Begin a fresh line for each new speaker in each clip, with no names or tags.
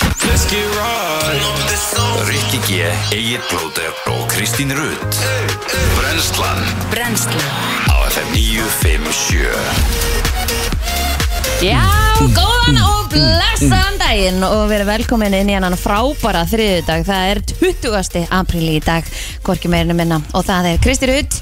kannski ráð
Rikki G, Egil Blóter og Kristín Rutt Brenslan
Brennslan
á FM 957
Já, góðan og blessaðan daginn og verið velkomin inn í hennan frábæra þriðudag. Það er 20. apríl í dag, hvorki meirinu minna. Og það er Kristi Rutt,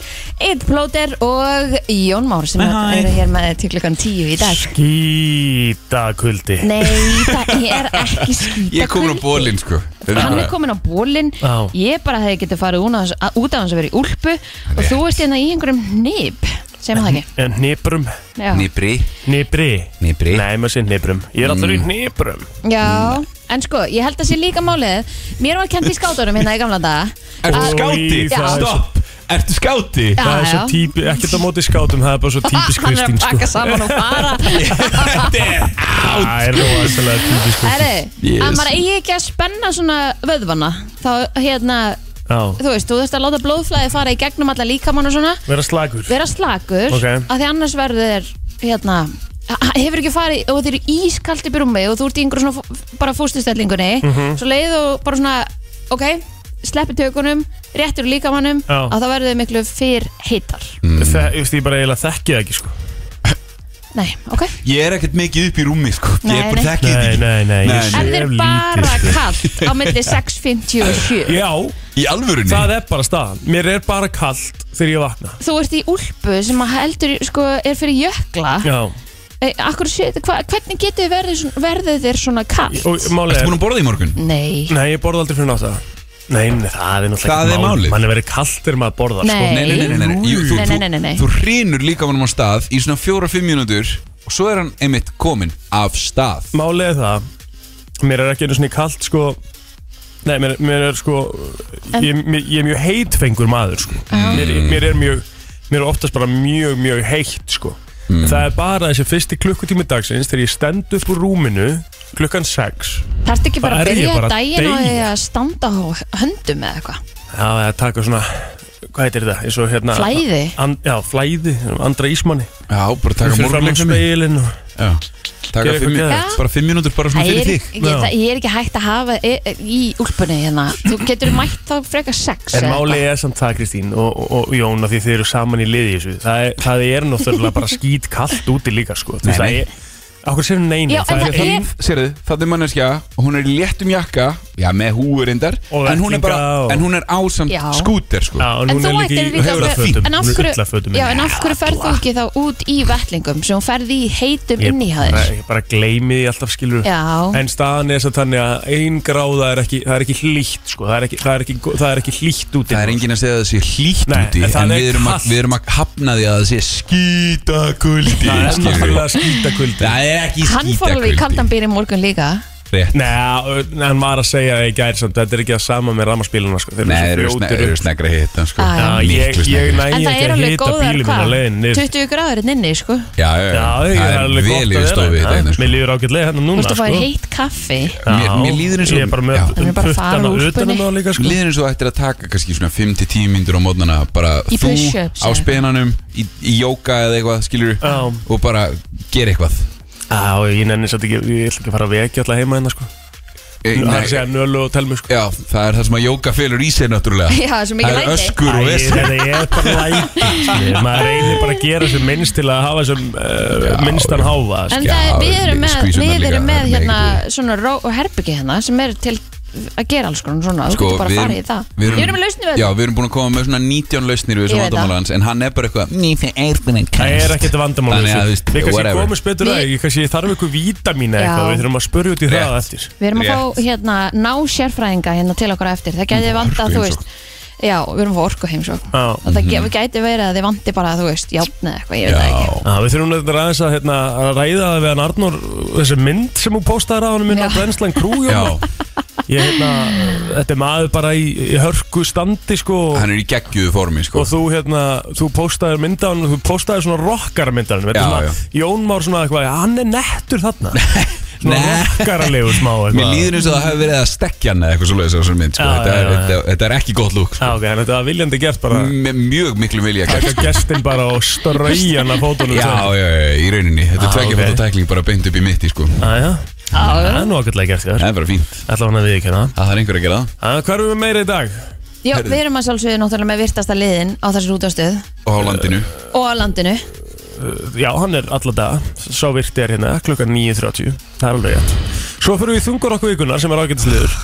Eid Plóter og Jón Már sem
Hæ, hæ.
eru hér með til klukkan 10 í dag.
Skítakuldi
Nei, það er ekki skýta
Ég er komin á bólinn sko
Hann er komin á bólinn,
Já.
ég bara hefði getið farið út af hans- út af hans að vera í úlpu og þú ert hérna í einhverjum nýp, segir maður það ekki?
Nýbrum
Já.
Nýbri
Nýbri
Nýbri.
Nei, maður sé nýbrum Ég er
Mm.
alltaf í nýbrum
Já, en sko, ég held að sé líka málið Mér var kent í skátunum hérna í gamla daga
Ertu
Að-
skáti?
Já.
Stopp Ertu skáti?
Já,
Það er svo
já.
típi, ekkert á móti skátum Það er bara svo típisk
Hann er að
Kristín
pakka
sko.
saman og fara
Þetta er
Það er rosalega típisk Kristín
Herri,
Yes.
að maður eigi ekki að spenna svona vöðvana Þá hérna,
Já,
þú veist, þú þurft að láta blóðflæði fara í gegnum alla líkamann og svona
vera slagur
Vera slakur,
Ok.
af því annars verður þér, hérna ha- hefur ekki farið og þeir eru ískalt í brúmi og þú ert í einhverjum svona fó- bara fóstustellingunni
Mhm.
svo leið og bara svona ok, sleppi tökunum, réttur líkamannum
Já.
að það verður þau miklu fyrr heitar
Mm.
Það, ég veist, ég bara eiginlega þekki það ekki sko
Nei, ok
Ég er ekkert mikið upp í rúmi sko Ég er
Nei,
bara
nei.
þekkið
Nei,
þetta
nei, nei,
Nei,
ég
nei.
sé
En þetta er
lítið,
bara
sko.
kallt á milli 6.50 og 7
Já,
ekki Í alvörunni
það er bara staðan Mér er bara kallt þegar ég vakna
Þú ert í úlpu sem að heldur sko, er fyrir jökla
Já,
e, akkur, hva, Hvernig getur verðið, svona- verðið þér svona kallt?
og
Ertu
málið er
búin að borða í morgun?
Nei,
Nei, ég borða aldrei fyrir nátt Nei, nei, það er náttúrulega
Það
ekki
er
mál.
málið.
Man er verið kallt þegar maður borðar sko.
Nei.
Nei, nei, nei, nei, nei. Jú, þú,
Nei, nei, nei, nei, nei.
Þú, þú hrinur líka mannum á stað í svona fjóra-fimm mínútur og svo er hann einmitt kominn af stað
Málið er það Mér er ekki einu svona kallt sko Nei, mér, mér er sko ég, mér, ég er mjög heitfengur maður sko mér, mér er mjög Mér er oftast bara mjög, mjög heitt sko
Hmm.
Það er bara þessi fyrsti klukkutími dagsins Þegar ég stend upp úr rúminu Klukkan 6
þarfti ekki bara að
Það er ég
byrja
bara að
daginn og
deyja.
eiga að standa á höndum eða eitthvað
Já, það taka svona Hvað heitir þetta? Eins og hérna
Flæði?
and, Já, flæði, andra ísmanni
Já, bara taka
Fyrir fram á
morgunleikfimi
speilin og
Já, taka
Gera
fimm,
eitthvað
geðveikt.
bara fimm mínútur bara svona
Það
fyrir
er,
þig
ég, það, ég er ekki hægt að hafa e, e, í úlpunni hérna Þú getur mætt þá frekar 6
En málið er samt það Kristín og, og, og Jón að því þið eru saman í liði í þessu Það er, það er náttúrulega bara skít kallt úti líka sko Þú
Nei,
veist það
nei.
er Akkur sem neini
Já, en
það er
það er-
það
Sérðu, það er manneskja og hún er í léttum jakka Já, með húur reyndar
Og
en hún, er bara,
vettlinga og-
en hún er ásamt
Já.
skúter sko.
Já, og
En
hún
þú
er líka
ættir
í
líka að vera-
huglafötum
En af
Hún er
hverju,
ullafötum
já, en af hverju ferð þú ekki þá út í vettlingum sem hún ferði í heitum inn í
Bara,
haður?
ég bara gleymi því alltaf skilur
Já.
En staðan er þess að þannig að ein gráða er ekki, það er ekki hlýtt sko Það er ekki, það er ekki, það er ekki hlýtt úti
Það er enginn að segja að það sé hlýtt
Nei,
úti
en það
En
er
við erum, að,
kalt.
við erum að hafna því að það sé skítakuldi
Það er
skilurðu.
náttúrulega skítakuldi
Það er ekki
Hann fór alveg í kaldan
skítakuldi
býr í morgun líka
Rétt.
Nei, hann var að segja það í gær samt Þetta er ekki að sama með rammaspíluna sko Þeir
Nei, þeir eru
eru svo
sne-
fljótir
eru
upp.
sneggri að hitta sko.
Já, já.
Já, ég,
Miklu
ég
sneggri.
næ
En
ekki
það er
að
alveg
hita
góðar,
bílum hérna minn að
hvað?
leiðin
20 gráðurinn inni, sko Þú
Já, já, já,
Já, ég
það
er alveg
er vel
gott að
yfirstofið
vera
þetta
hérna.
sko.
Mér líður ágætlega hérna núna
veist að fá þér heitt kaffi
Já,
Mér- mér líður eins og-
Ég er bara með
Já.
Hann er bara að fara
puttana
úr
utan um
úlpunni.
það líka sko
Líður eins og ættir að taka kannski svona 5-10 myndir á mótnana bara
Í
þú
push-ups,
á
eða?
spenanum í, í jóka eða eitthvað skilur
Já.
og bara gera eitthvað
Já, ég nenni satt ekki, ég ætla ekki að fara að vekja alltaf heima hérna sko
e,
Það er að segja nölu og telmu sko
Já, það er það sem að jóka fylur í sig náttúrulega
Já, svo mikið
Það er
læti.
öskur
Æ,
og vesen
þetta er bara læti skilur. Maður reynir bara að gera sem minnst til að hafa sem uh, minnstan sko. háfa
En
skilur.
Já,
það er, við erum með,
skvísurnar
við
líka,
erum
það
með
er
hérna
mikið.
svona ró og herbyggi hérna sem eru til að gera alls konar svona Þú
Sko,
getur bara
við
að
erum-
fara í það
við erum-
Ég erum með lausnir við
Já,
þetta
við erum búin að koma með svona 19 lausnir við þessum
Ég veit það.
vandamála hans En hann er bara eitthvað "Ný, Það er bara eitthvað
Það er ekkert vandamál
Þannig að, þú veist,
Við kannski
whatever.
komumst betur að
Við-
Ég kannski þarf eitthvað vítamín
Já.
eða eitthvað Við þurfum að spurja út í það
Rétt.
eftir
Við erum að
Rétt.
fá hérna ná sérfræðinga hérna til okkar á eftir Það gæti vanda, þú veist Já, við erum að fá orku heimsók
Já.
Og það ge- gæti verið að þið vandi bara, þú veist, játn eða eitthvað, ég veit það ekki
Mhm. Já,
Já, við þurfum nefnilega aðeins að, hérna, að ræða það við hann Arnór þessi mynd sem hún póstaði á hann minn á
Já.
Brenslan Krú
já,
Jón. ég, hérna, þetta er maður bara í, í hörku standi sko og-
hann er í geggjuðu formi sko
og þú hérna, þú póstaði myndan þú póstaði svona rockara myndan
Já,
svona,
já.
Jón Már svona eitthvað, hann er nettur þarna svona
Nei.
rockaralegu smá eitthvað.
Mér líður eins og það hafi verið að stekkja hann eða eitthvað svoleiðis á þessum mynd sko.
Já,
þetta,
já,
er,
já.
þetta, þetta er ekki gott lúk sko.
Já, ok, en þetta var viljandi gert bara
Með mjög miklu vilja gert
taka gestin bara og strauja hann að fótunum
Já, já, já, í rauninni Þetta er
Ah,
tveggja
sko. ok.
fóta tækling bara beint upp í mitti sko.
já, já Það er nú ágætlega gert þér
Það er bara fínt
Ætla hann að við ekki hérna
að það er einhver að gera
Hvað erum við meira í dag?
Já, við erum að sjálfsögðu náttúrulega með virtasta liðin á þessu rútastöð
það og á landinu
og á landinu
Já, hann er alla dag Sá virti er hérna klukkan 9.30 Það er alveg rétt Svo fyrir við í þungur okkur vikunar sem er ágætisliður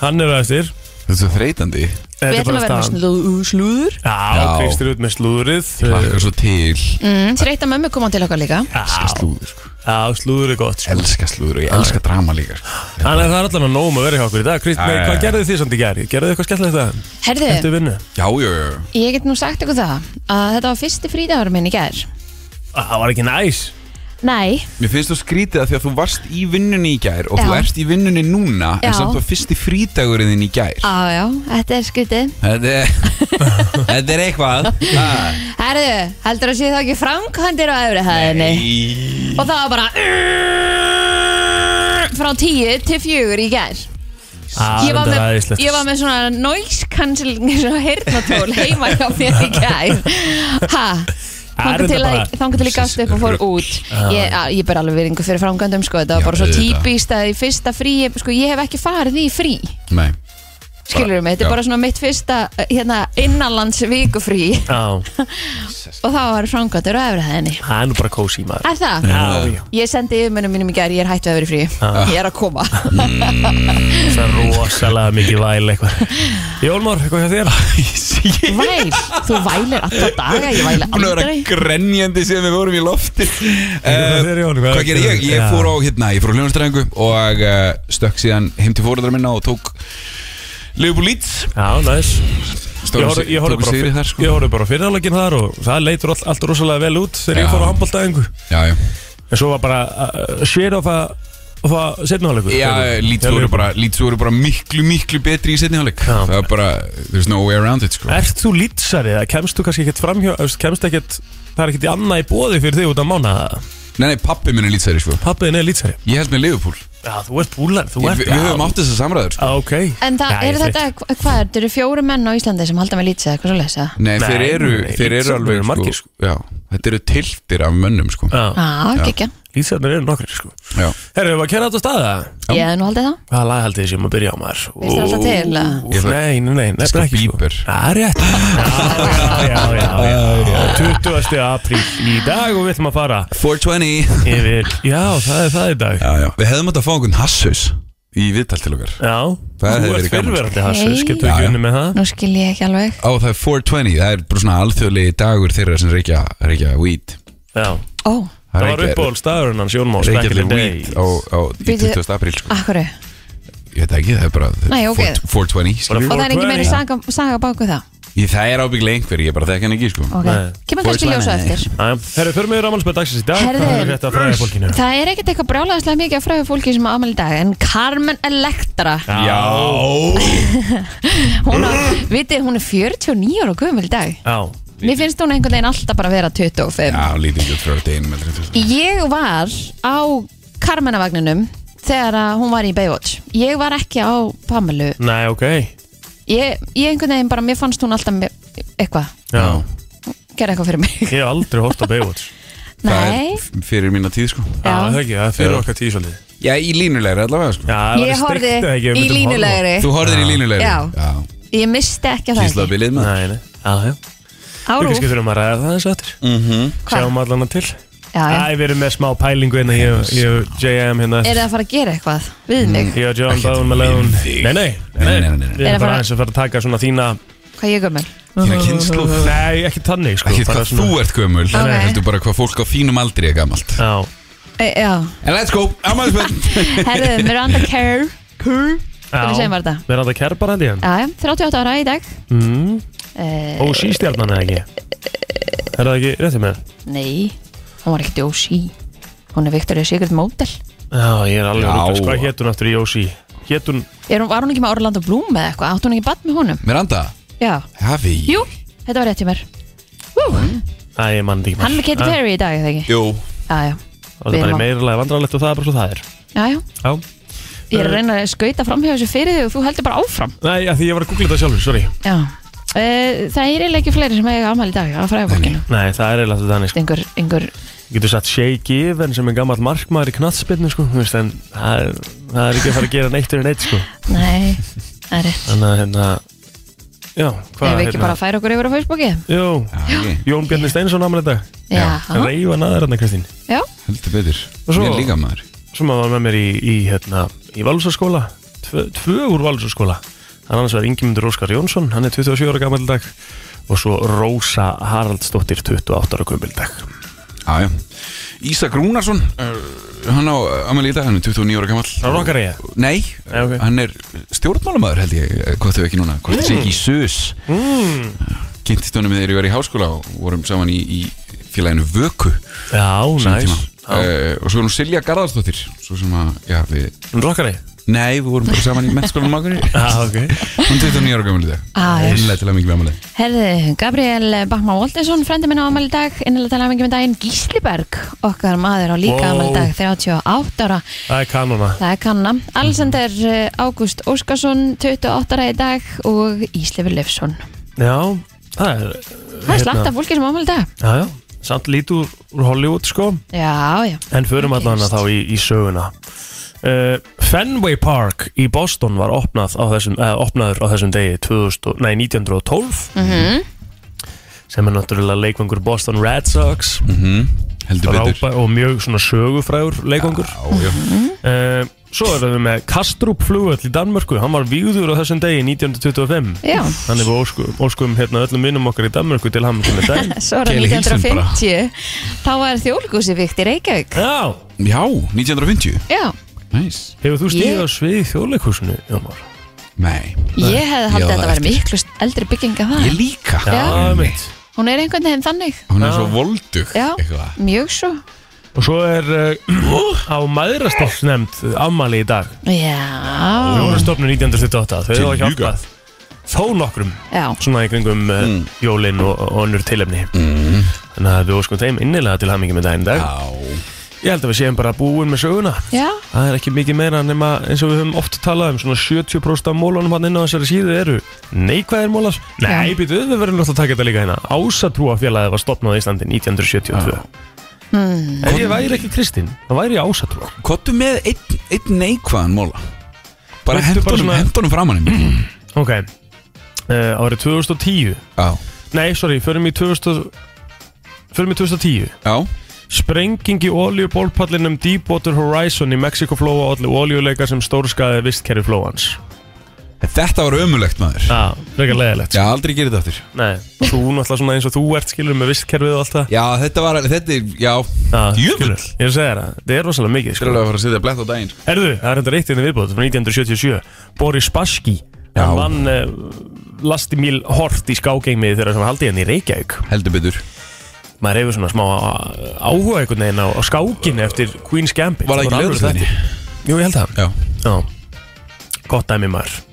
Hann er aðeins
Þetta er svo þreytandi
Við ætlum að vera með slú- slúður
Já,
Já.
Kristur út með slúðrið
Plakka svo til
mm, Þreita mömmu kom á til okkar líka
Elskar
Já,
slúður sko.
já, slúður er gott sko.
Elskar slúður og ég elskar drama líka sko.
Þannig að það er allan að nógum að vera hjá okkur í dag
Já,
Krist, nei,
já,
hvað
já.
gerðu þið samt í gæri? Gerðu þið eitthvað skemmtilegt að
Herðu,
Þetta vinnu?
Já, já, já
ég get nú sagt ykkur það að þetta var fyrsti frídagur minn í gær
Á, Það var ekki næs
Nei,
Mér finnst þú skrítið að því að þú varst í vinnunni í gær og
Já.
þú ert í vinnunni núna
Já. Ah.
en samt var fyrsti frídagurinn þinn í gær
ájá, þetta er skrítið
Þetta er, þetta er eitthvað Ah. Það-
Herðu, heldur að sé það ekki framkvæmdir á efri hæðinni
Í-
og það var bara frá tíu til fjögur í gær ég var, með, ég var með svona noise cancelling svona heyrnatól heima hjá mér í gær ha
Er
Þangar
þetta
til, að,
bara-
þangar til ég gafst upp og fór út Ég, að, ég ber alveg veringu fyrir framgöndum sko. Þetta var
Já,
bara svo
auðvitað.
típist að í fyrsta frí sko, Ég hef ekki farið í frí
Nei
Skilur mig, þetta
já.
er bara svona mitt fyrsta hérna, Innanlands vikufrí
Já,
Og þá var framgöndur á efrihæðinni
það er nú bara kósi maður
Er það?
Já, já,
Ég sendi yfirmönnum mínum í gær, ég er hættu að vera í frí Ég er að koma
það er rosalega mikið væl eitthvað Jólmór, eitthvað hjá þér?
Væl, þú vælir alla daga, ég væli
Búin að vera
aldrei
grenjandi síðan við vorum í lofti
hvað
Eh,
fer í honum? Hvað
Hvað gerir ég? Ég
Já.
fór á hérna, ég fór á hljónastræðingu og uh, stökk síðan heim til fóröldra minna og tók Liverpool Leeds
Já, næs Ég
Stórum
horf-
sig-
Ég horfði
tókum
bara,
sigri þar
fyr-
sko
ég horfði bara fyrirhálegin þar og það leitur all, allt rosalega vel út þegar ég
Já.
fór á handbóltaðingu
Já, já
En svo var bara uh, sver á það setnihálegur
Já, Leeds voru bara, Leeds voru bara miklu, miklu betri í setni hálfleik
Já.
Það var bara, there's no way around it sko
Ert þú lýtsari eða kemst þú kannski ekkert framhjá þú veist, kemst ekkert, það er ekkert í annað í bóði fyrir þig út af mána
Nei, nei, pappi minn er Leedsæri sko
Pappiðin er lýtsari
Ég held með Liverpool
Já, þú ert búlar, þú
Ég-
ert
Við við höfum átt þess að samræður sko
Já, Ah, ok
En það,
Já, ég
eru
þekki.
þetta, hva- hvað, þetta eru fjóru menn á Íslandi sem halda með lítið, eitthvað svo lesa
Nei,
Nei,
þeir eru,
nei,
þeir eru
Leeds
alveg
eru
sko,
margir, sko.
Já, þetta eru tiltir af mönnum sko
Já,
Já, Ah, gekkja,
lýtsarnir eru nokkri sko
Já,
Herru, við að kæra þetta á staða
ég hef nú haldið það
Hvaða lag haldið þið sem að byrja á maður?
Veist það alltaf til, eða?
Úf, nei, nei, nei, nefnir
Sko,
ekki sko
Bieber.
Það er rétt Já, já, já, já, já 20. apríl í dag og við ætlum að fara
420
yfir Já, það er það í dag
Já, já, við hefðum átt að fá einhvern hassaus í viðtal til okkar
Já,
Það hefði
þú ert
verið gaman,
fyrrverandi Hassus,
Nei.
getur
Já,
við
já.
ekki unni með það?
Nú skil ég ekki alveg
Ó, það er 420, það er bara svona alþjóðlegi dagur þeirra sem reykja, reykja weed
Já,
Ó,
það var uppáhald staðurinn hans Jón Más back in the
Reykjavík
day.
weed á, á, í
Bíddu.
20. apríl sko.
akkurru
Ég veit ekki, það er bara
Nei, ok.
420 skilur.
Og það er ekki meiri saga, saga baku það
sko. Ég, það er ábygglega einhver, ég bara þekk hann ekki sko.
Ok,
Nei.
kemur kannski ljósa eftir
Jæja, Herru, förum við rámálspöð dagsins í dag
Herðu.
Það er rétt að fræða fólkinu
Það er ekkert eitthvað brjálæðislega mikið að fræða fólki sem á afmæli í dag En Carmen Electra,
Já,
hún, á,
Mm.
vitið, hún er 49 ára gömul í dag
Já,
Mér finnst hún einhvern veginn alltaf bara að vera 25
já lítið út frá deginum eldri, þú veist.
Ég var á Carmenavagninum þegar að hún var í Baywatch Ég var ekki á Pamelu
nei, ok Já,
Ég, ég einhvern veginn bara, mér fannst hún alltaf me- eitthvað,
Já.
gera eitthvað fyrir mig
ég hef aldrei hort á Baywatch
Það
Nei,
er f- fyrir mína tíð sko.
Já,
já
það er ekki, það er fyrir
Já.
okkar tíu svolítið
Já, í línulegri allavega sko.
Já, það væri
Ég
steikt
horfði
ef ekki við
í
myndum horfa á-
línulegri
Þú horfðir í línulegri
Já. Ég misti ekki að það
Kíslaðu bilið með
Nei, nei, já, já Við
Árúf,
kannski þurfum að ræða það eins og eftir
hvað?
Sjáum allan að til
Já, já.
Æ, við erum með smá pælingu hérna Ég og- ég og JM hérna
Er það að fara að gera eitthvað við mig?
Ég og John
Ekkert
Báðum Malone
við þig.
Nei, nei,
Nei, nei, nei, nei.
Við
Er að
erum bara
fara-
aðeins að fara að taka svona þína
Hvað ég gömur?
Þína kynnslóð
Nei, ekki tannig sko
Ekki
bara
hvað
svona-
þú ert gömul
Ok.
Heldur bara hvað fólk á þínum aldri er gamalt
Já,
E, já,
En let's go, ámæðisbönn
herðu, Miranda Kerr Kerr,
já
hvernig segir maður þetta?
Við erum alltaf kerpar held ég
Já, já, 38 ára í dag
Mm.
Eh,
Og sístjarnan eða ekki Er það ekki réttið með?
Nei, hún var ekkert Yoshi Hún er Victoria's Secret Model
Já, ég er alveg
Já.
rúkast Hvað hétt hún aftur í Jósi? Hétt hún
Er hún, var hún ekki með Orlando Bloom eða eitthvað? Átt hún ekki bann með honum?
Miranda,
Já,
hafi
jú, þetta var rétt hjá mér Ú,
Æ, ég mann þetta ekki Ah,
Hann er með Katy Perry í dag, eða ekki?
Jú
Já, já,
Og það er
Við
bara
erum á-
meiralega vandrarlegt og það er bara svo það er
já, já
Já
Eh. Ég er að reyna að skauta framhjá þessu fyrir þig og þú heldur bara áfram
Nei, af því ég var að googla þetta sjálfur, sorry
Já, Eh, Það er eiginlega ekki fleiri sem eiga afmæli í dag á fræðabokkinu.
Nei, það er eiginlega þetta þannig sko.
Einhver, einhver,
Ég getur satt Shea Given sem er gammal markmaður í knatsbyrnu sko, þú veist, en það er, það er ekki að fara að gera neitt fyrir neitt sko.
nei, það er rétt.
Þannig að hérna, já, hvað hérna?
Eða við ekki bara að færa okkur yfir á Facebooki?
Jú,
Já, ég
Jón Bjarni Steinsson ámæli þetta,
Já,
reyfa naður hérna Kristín.
já,
heldur betur
Og svo-
Mér líka maður
Svo maður var með mér í, í hérna, í Valsarskóla, tvö, tvö úr Valsarskóla. Hann annars var Ingimundur Óskar Jónsson, hann er 27 ára gammal í dag og svo Rósa Haraldsdóttir 28 ára gömul í dag.
Já, já Ísak Rúnarsson uh, Hann á Amalí í dag, hann er 29 ára gamall
Það er okkar ég.
Nei,
Já, ok.
hann er stjórnmálamæður held ég, eh, hvort þau ekki núna, hvort það sé ekki í SUS mm. Kynntist honum þegar ég var í háskóla og vorum saman í, í félaginu Vöku
Já,
sínum
næs.
tíma uh, Og svo er hún Silja Garðarsdóttir, svo sem að, já við,
Hún er okkar ég.
nei við vorum bara saman í mennskólanum akkur Hún
Já, ok.
er 29 ára gammal í dag,
Ah, já.
innlega til að mikið gammal
Herðu, Gabriel Bachmann Waltesson, frendi minn á amal í dag, innlega tala mikið með daginn Gísliberg, okkar maður á líka wow.
Wow.
amal í dag, 38 ára,
Það er kanona.
það er kanna. Alexander
Mhm.
eh, Ágúst Óskarsson, 28 ára í dag og Íslefur Leifsson.
Já, það er hérna,
Það
Hérna.
er slatt af fólki sem á amal í dag.
Já, já, samt lítið úr, úr Hollywood sko
Já, já.
En förum
Það
allan að
gerist.
þá í, í söguna uh, Fenway Park í Boston var opnað á þessum, eh, opnaður á þessum degi 2000, og- nei, 1912
Mhm.
sem er náttúrulega leikvangur Boston Red Sox
Mhm. Heldur betur
Rápa, og mjög svona sögufrægur leikvangur
Já, já.
uh, Svo erum við með Kastrup flugvöll í Danmörku Hann var víður á þessum degi 1925
Já.
Þannig við óskum, óskum hérna öllum vinnum okkar í Danmörku til hamingju með daginn
Svo ára
Keli Hilsen bara.
1950, þá var þjóðlugúsi vikt í Reykjavík.
Já,
já 1950
Já,
Nice.
Hefur þú stíð
Ég-
á svið þjóðleikúsinu, Jónmar?
Nei,
ég hefði
Ég á
haldið að
það
þetta væri
eftir.
miklu st- eldri bygging af
ég
það.
líka
Já.
mitt.
Hún er einhvern veginn þannig.
Hún er
Já.
svo voldug
Já,
eitthvað.
mjög svo.
Og svo er uh, á maðurastofnsnefnd afmæli í dag.
Já,
Þjóðastofnun 1928, þau
Til
hafa
Huga. Mm.
hjálpað þó nokkrum
já.
svona í kringum uh, jólinn og, og önnur tilefni. Þannig að við óskum þeim innilega til hamingi með daginn í
Mhm.
dag.
Já.
Ég held að við séum bara búin með söguna.
Já,
Það er ekki mikið meira nema eins og við höfum oft talað um svona 70% af mólunum hann inn á þessari síðu eru neikvæðir mólar. Nei,
Já.
býtu, við verðum náttúrulega að taka þetta líka hérna. Ásatrúafélagið var stopnað í Íslandi 1972. Hmm. Ef ég væri ekki kristinn, þá væri ég ásatrúa.
Kottu með einn ein neikvæðan móla Bara
Kottu bara
hendunum,
svona-
hendunum framan í mig
Ok, uh, árið 2010.
Já,
Nei, sorry, förum í 2000... Förum í 2010
já,
Sprenging í oljubólpallinum Deepwater Horizon í Mexikoflóa olli oljuleika sem stórskaði vistkerfi flóans
þetta var ömulegt maður
Já, frekar leðilegt
Já, aldrei gerir þetta aftur
Nei, þú náttúrulega svona eins og þú ert skilur með vistkerfið og allt það
Já, þetta var, þetta er, já
Ah,
Djöfull.
skilurðu. Ég er að segja þér það, það er rosalega mikið
Þetta er
sko.
alveg að fara að setja blett á daginn sko.
Herðu, það er þetta reitt inn í viðbóð frá 1977 Boris Baski
Já.
Hann vann uh, Lastimil Hort í skágeimið þegar það var haldið henni í Reykjavík
Heldur betur
Maður hefur svona smá uh, áhuga einhvern veginn á, á skákinu eftir Queen's Gambit
Var það ekki
alvöru
lögur þetta?
þættir. Jú, ég held það
Já
Já. Gott dæmi maður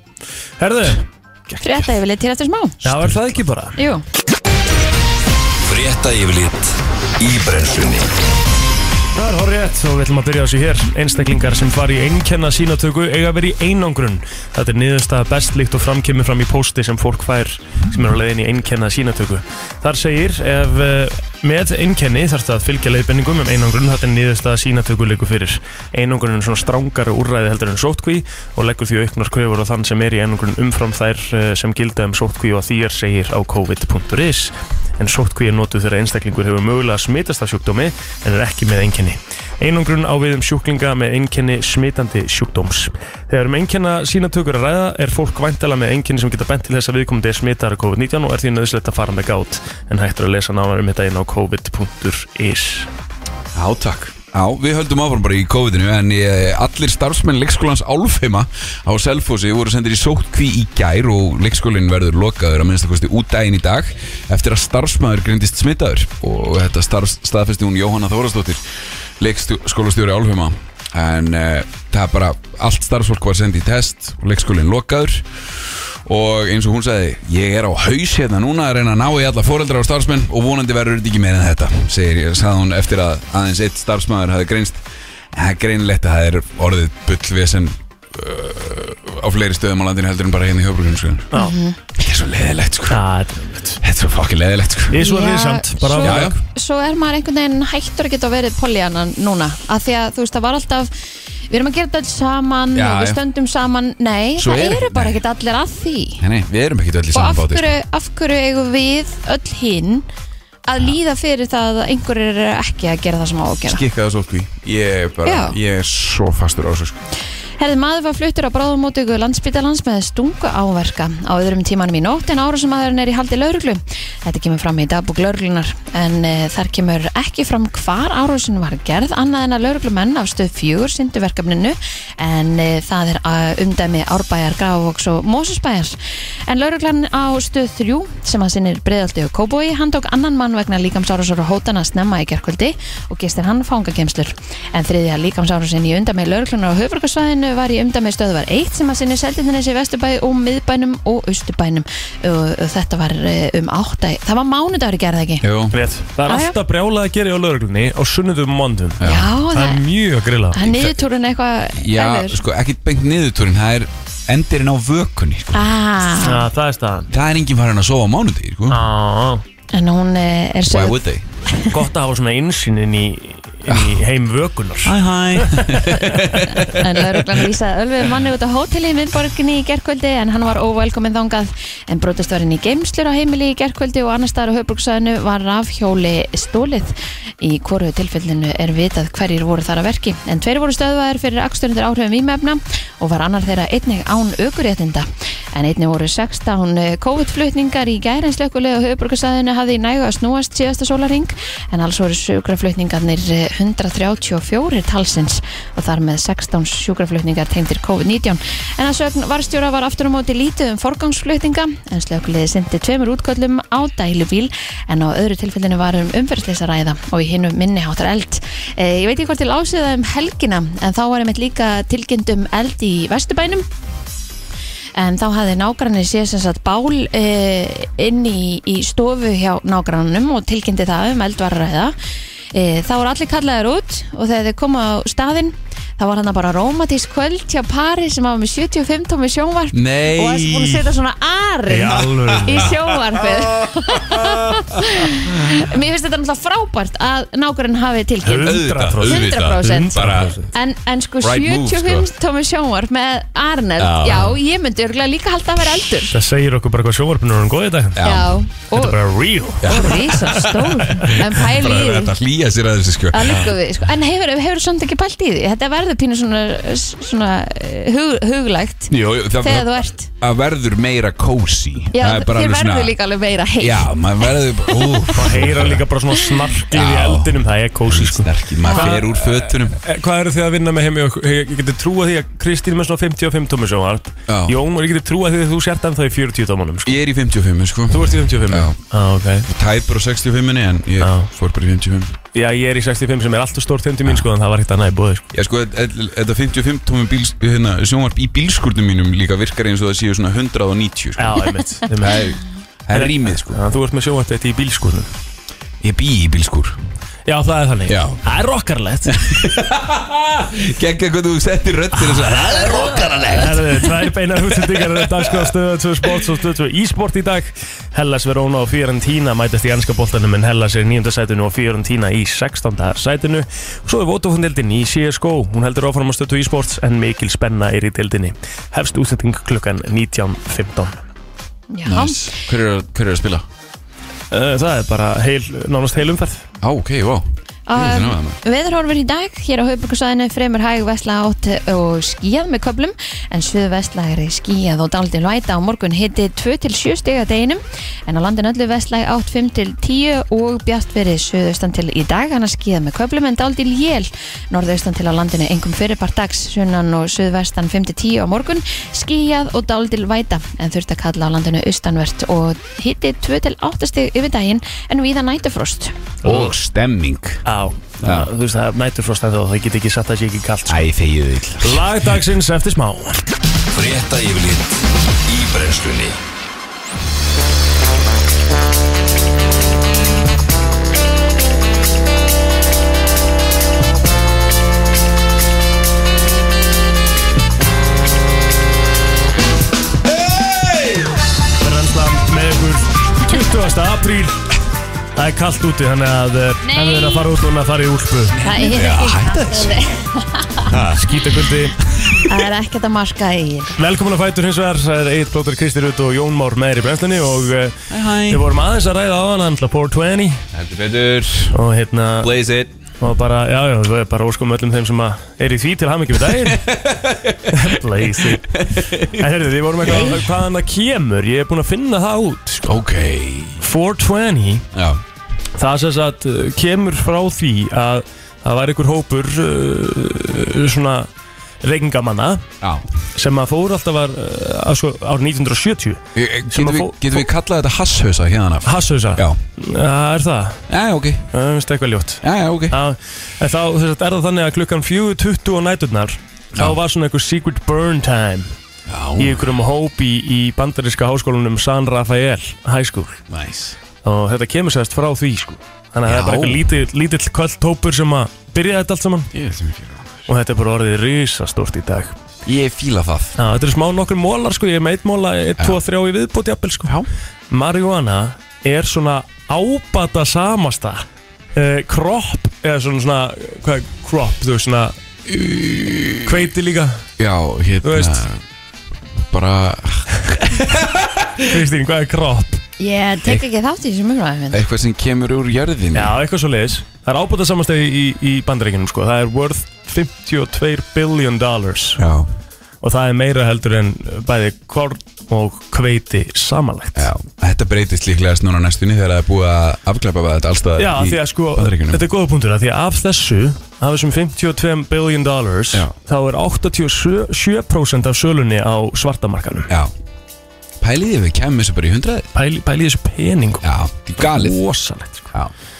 Herðu,
frétta yfirleitt til eftir smá.
það var það ekki bara
Jú.
Frétta yfirlit í brennslunni
Það er horrið og við ætlum að byrja á þessu hér. Einstaklingar sem fari í einkenna sínatöku eiga að vera í einangrun. Þetta er niðurstaða best líkt og framkemur fram í pósti sem fólk fær sem er á leiðin í einkenna sínatöku. Þar segir ef eh, með einkenni þarf það að fylgja leiðbenningum um einangrun þetta er niðurstaða sínatöku leiku fyrir. Einangrun er svona strangara úrræði heldur en sótkví og leggur því auknar kröfur á þann sem er í einangrun umfram þær eh, sem gilda um sótkví og að því er segir á covid.is en sótkví er notuð þegar einstaklingur hefur mögulega smitast af sjúkdómi en er ekki með einkenni. Einangrun á við um sjúklinga með einkenni smitandi sjúkdóms. Þegar um einkenna sínatökur að ræða er fólk væntala með einkenni sem geta bent til þess að viðkomandi er smitara COVID-19 og er því nöðslegt að fara með gát en hægt er að lesa nánar um þetta inn á covid.is.
Já, takk Já, við höldum áfram bara í COVID-inu en eh, allir starfsmenn leikskólans Álfheima á Selfossi voru sendir í sótkví í gær og leikskólinn verður lokaður að minnstakosti út daginn í dag eftir að starfsmæður grindist smitaður og þetta starf, staðfesti hún Jóhanna Þórastóttir leikskólastjóri Álfheima en uh, það er bara allt starfsfólk var sendið í test og leikskólinn lokaður og eins og hún sagði ég er á haus hérna núna að reyna að ná í alla foreldra og starfsmenn og vonandi verður þetta ekki meira en þetta segir, sagði hún eftir að aðeins eitt starfsmæður hafi greinst en það er greinlegt að það er orðið bullvesen uh, á fleiri stöðum á landinu heldur en bara hérna í höfbrukunum
Já.
þetta er svo leðilegt sko
Það
Þetta er svo fokkin leðilegt sko
er svo
Já,
risamt bara
svo,
Já, já.
svo er maður einhvern veginn hættur að geta verið poljannan núna Af því að þú veist, það var alltaf Við erum að gera þetta saman
Já,
og Við
já.
stöndum saman Nei,
Svo
það
er-
eru bara
nei.
ekkert allir að því
Nei, nei, við erum ekkert öll í
Og af
saman sko. báti
hverju, af hverju eigum við öll hinn að líða fyrir það að einhverjir er ekki að gera það sem á að gera
Skikkaða svo því Ég er bara,
Já.
ég er svo fastur á þessu sko
Herði maður var fluttur á bráðumótöku landsbytalans með stungu áverka á öðrum tímanum í nótt en árásumadurinn er í haldi lauruglu. Þetta kemur fram í dagbúk lauruglunar en e, þar kemur ekki fram hvar árásun var gerð annað en að lauruglumenn af stöð fjögur sindu verkefninu en e, það er að umdæmi Árbæjar, Grafavoks og Mósusbæjar. En lauruglan á stöð þrjú sem að sinnir breyðaldi og kóbói hann tók annan mann vegna líkamsárásur og hótana snemma í gerkvöldi og gistir hann fangagemslur. En þriðja líkamsárásin í undamið lauruglunar á höfurkarsvæðinu var í undamið stöðvar 1 sem að sinni seldinnes í Vesturbæ og miðbænum og austubænum og, og þetta var eh, um 8. Það var mánudagur í gerð ekki?
Jú
Rétt. Það er
Já, já.
alltaf brjálað að gera á lauruglunni á sunnundum og mondum
Já,
Það er
það,
mjög að grilla
það er niðurtúrun eitthvað
Já,
erfiður.
sko, ekkert beint niðurtúrin Það er endirinn á vökunni sko.
Ah,
Já, Það er staðan
Það er enginn farin að sofa á mánudegi sko.
Já,
en hún eh, er
Why
sögð
would they?
Gott að hafa svona innsýn inn í, inn í heim vökunar
Hi hi
en lauruglan vísaði ölfuð manni út á hóteli í miðborginni í gerkvöldi en hann var óvelkominn þangað en brotist var inn í geimslur á heimili í gerkvöldi og annar staðar á höfbruksæðinu var rafhjóli stólið í hvoru tilfellinu er vitað hverjir voru þar að verki en tveir voru stöðvaðir fyrir aksturundir áhrifum ímefna og var annar þeirra einnig án aukuréttinda en einnig voru 16 COVID-flutningar í gærinslökulega og höfbruksæðinu hafði í nægu að snúast síðasta sólaring en alls voru sjúkraflutningarnir eh, 134 talsins og þar með 16 sjúkraflutningar tengdir COVID-19. En að sögn varstjóra var aftur á móti lítið um forgangsflutninga en slökulegði sindi tveimur útköllum á dælubíl en á öðru tilfellinu var um umferðsleysa ræða og í hinnu minni háttar eld. E, ég veit ekki hvort til ásið það um helgina en þá var einmitt líka tilkynnt um eld í Vesturbænum en þá hafði nágranni séð sem sagt bál e, inn í, í stofu hjá nágrannum og tilkynnti það um eldvarræða e, þá voru allir kallaðir út og þegar þeir koma á staðinn þá var hann bara rómatísk kvöld hjá pari sem hafa með 75 tómi sjónvarp
Nei
og þessi búin að setja svona ari
Í alvöru.
í sjónvarpið mér finnst þetta náttúrulega frábært að nágrann hafi tilkynnt
Auðvitað,
100%.
auðvitað
100%.
Bara
En, en sko
Right move,
75
sko.
tómi sjónvarp með Arneld,
Já.
já, ég myndi örugglega líka halda að vera eldur
Það segir okkur bara hvað sjóvarpinu er hann góð í dag
Já.
Já,
Þetta
og
er bara real
rísa stór En pæli
Bara er
í því
þetta að hlýja sér að þessu sko
Það líka við, sko. En hefur, hefur samt ekki pælt í því Þetta verður pínu svona, svona eh, hug, huglægt
Jú, jú, það,
Þegar þú ert
það verður meira cozy
Já,
Það er bara
þér
alveg
verður
svona-
líka alveg meira heitt
Já, maður verður Ú,
Og heyra líka bara svona snarkið í
Já.
eldinum Það er kósi sko
Snarki, maður fer úr fötunum
Eh, Hvað eru þið að vinna með heim í okkur? Ég ég geti trúa því að Kristín er með svona 55 tómi sjónvarp
Já.
Jón, og ég geti trúa því að þú sért ennþá í 40 tómunum sko.
Ég er í 55 sko
Þú ert í 55
Já.
ah, ok
Tæpur á 65 en ég
Já.
fór bara í 55
Já, ég er í 65 sem er alltaf stór þeim til mín sko En það var ekkert annað í bóði sko.
Já sko, þetta þetta 55 tómi bíls, hérna, sjónvarp í bílskurnum mínum líka virkar eins og það séu svona 190 sko.
Já, einmitt,
Það
einmitt.
er, það er rýmið sko.
Já, Þú ert með sjónvarp þetta í bílskunum
Ég bý í bílskur
Já, það er þannig
Já.
Það er rockarlegt
Gekka hvað þú settir rödd til þess að Það er rokkaralegt
Það eru tvær beina útsendingar Það er dagskráðstöðu 2 sports og stöðu 2 e-sport í dag Hellas Verona og Fiorentina mætast í anska boltanum en Hellas er í 9. sætinu og Fiorentina í 16. sætinu og svo er Votofondildin í CSGO hún heldur áfram á stöðu e-sports en mikil spenna er í dildinni hefst útsending klukkan 19.15
Já,
Hver er, hver er að spila?
Uh, Það er bara heil, nánast heil umferð
Á, ok, vá
Um,
Jú, það er það.
Veðurhorfur í dag hér á höfbrukarsvæðinu fremur hæg vestla átt og skíðað með köplum en suðu vestlægri skíðað og daldið væta á morgun hitti 2-7 stiga deginum en á landin öllu vestlæg átt 5-10 og bjart verið suðaustan til í dag annars skíðað með köplum en daldið jél norðaustan til á landinu engum fyrirpart dags sunnan og suðvestan 5-10 á morgun skíðað og daldið væta en þurft að kalla á landinu austanvert og hitti 2-8 stig yfir daginn en viða nætufrost
Og stemming
Á, það, þú veist það er næturfrost en það get ekki satt að sé ekki kalt sko.
Æ, þegið þig
Lagdagsins eftir smá
Frétta yfirlit í brennslunni
Brennslan apríl Það er kallt úti, þannig að eh, ef
Nei.
þið er að fara út núna að fara í úlpu
Það er ekki
Skítakuldi
Það er ekkert að marka í
Velkomin að fætur hins vegar, það er Egil Blóttur Kristi Rutt og Jón Már með þér í brennslunni og eh, við vorum aðeins að ræða á hann, hann ætla 420
Heldur betur
og hérna
Blaze it
og bara, já, já, við erum bara óskum öllum þeim sem að er í því til hamingjum í daginn Lazy En herrðu, við vorum eitthvað, hvaðan það kemur, ég er búinn að finna það út sko.
Ok
420
Já
Það sem sagt uh, kemur frá því að það var einhver hópur uh, svona reykingamanna
Já
sem að fór alltaf var, uh, að sko, árið 1970
Ég- ég-
Sem
Getum
að
við,
fó-
getum við kallað þetta hasshausa hérna af?
Hassauðsa,
Já
það er það,
Já, ok Já,
það finnst eitthvað ljótt
já, ok
Já, en þá sem sagt, er það þannig að klukkan 4.20 á næturnar þá
Já.
var svona einhver secret burn time í
Já
einhverjum hópi í bandaríska háskólanum San Rafael High School
Nice
og þetta kemur sérst frá því sko. þannig að það er
Já.
bara eitthvað lítill, lítill kvöld hópur sem að byrjaði þetta allt saman
Ég veit ekki hvað
og þetta er bara orðið risastórt í dag
Ég fíla það
Já, þetta er smá nokkur mólar sko, ég er meitt móla 1, 2, 3 í viðbúti appil sko
Já
Marihuana er svona ábata samasta eh, kropp, eða svona, svona hvað er kropp, þú veist svona kveiti líka
Já, hérna
Þú veist.
Bara
Kristín, hvað er kropp?
Ég tek ekki þátt í þessum umræðum
eitthvað sem kemur úr jörðinni
Já, eitthvað svo leiðis Það er ábata samasta í, í, í bandaríkinum sko það er worth 52 billion dollars
Já,
og það er meira heldur en bæði korn og kveiti samanlegt
já. Þetta breytist líklegast núna á næstunni þegar það er búið að afklappa þetta allstað
Já,
í
því að sko,
Bandaríkjunum.
þetta er góða punktur að því að af þessu, af þessum 52 billion dollars,
Já.
þá er 87% af sölunni á svartamarkanum.
Já Pæliði við kemum þessu bara í hundraði
Pæli, pæli í þessu peningum.
Já, því galið
Ósalegt. Sko.
Já,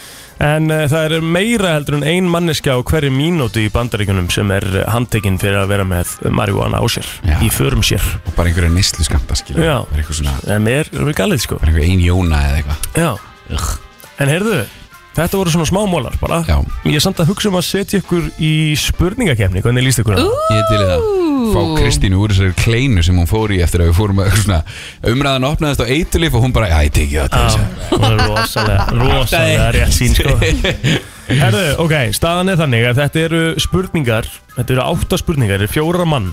En uh, það er meira heldur en ein manneskja á hverju mínútu í bandaríkunum sem er eh, handtekinn fyrir að vera með marihuana á sér,
Já.
í förum sér.
og bara einhverja nýslu skamta skilja
Já.
Bara eitthvað svona,
En mér er við galið, sko.
bara einhverja ein jóna eða eitthvað
Já. En heyrðu, þetta voru svona smámólar bara.
Já,
Ég er samt að hugsa um að setja ykkur í spurningakefni, hvernig líst ykkur á það?
ég til í það Fá Kristínu úr þessari kleinu sem hún fór í eftir að við fórum að eitthvað svona Umræðan opnaðist á eiturlif og hún bara, já, ég teki það til
Já,
þess að-
það er rosalega, rosalega rétt sín sko Herðu, ok, staðan er þannig að þetta eru spurningar Þetta eru átta spurningar, þetta eru fjóra mann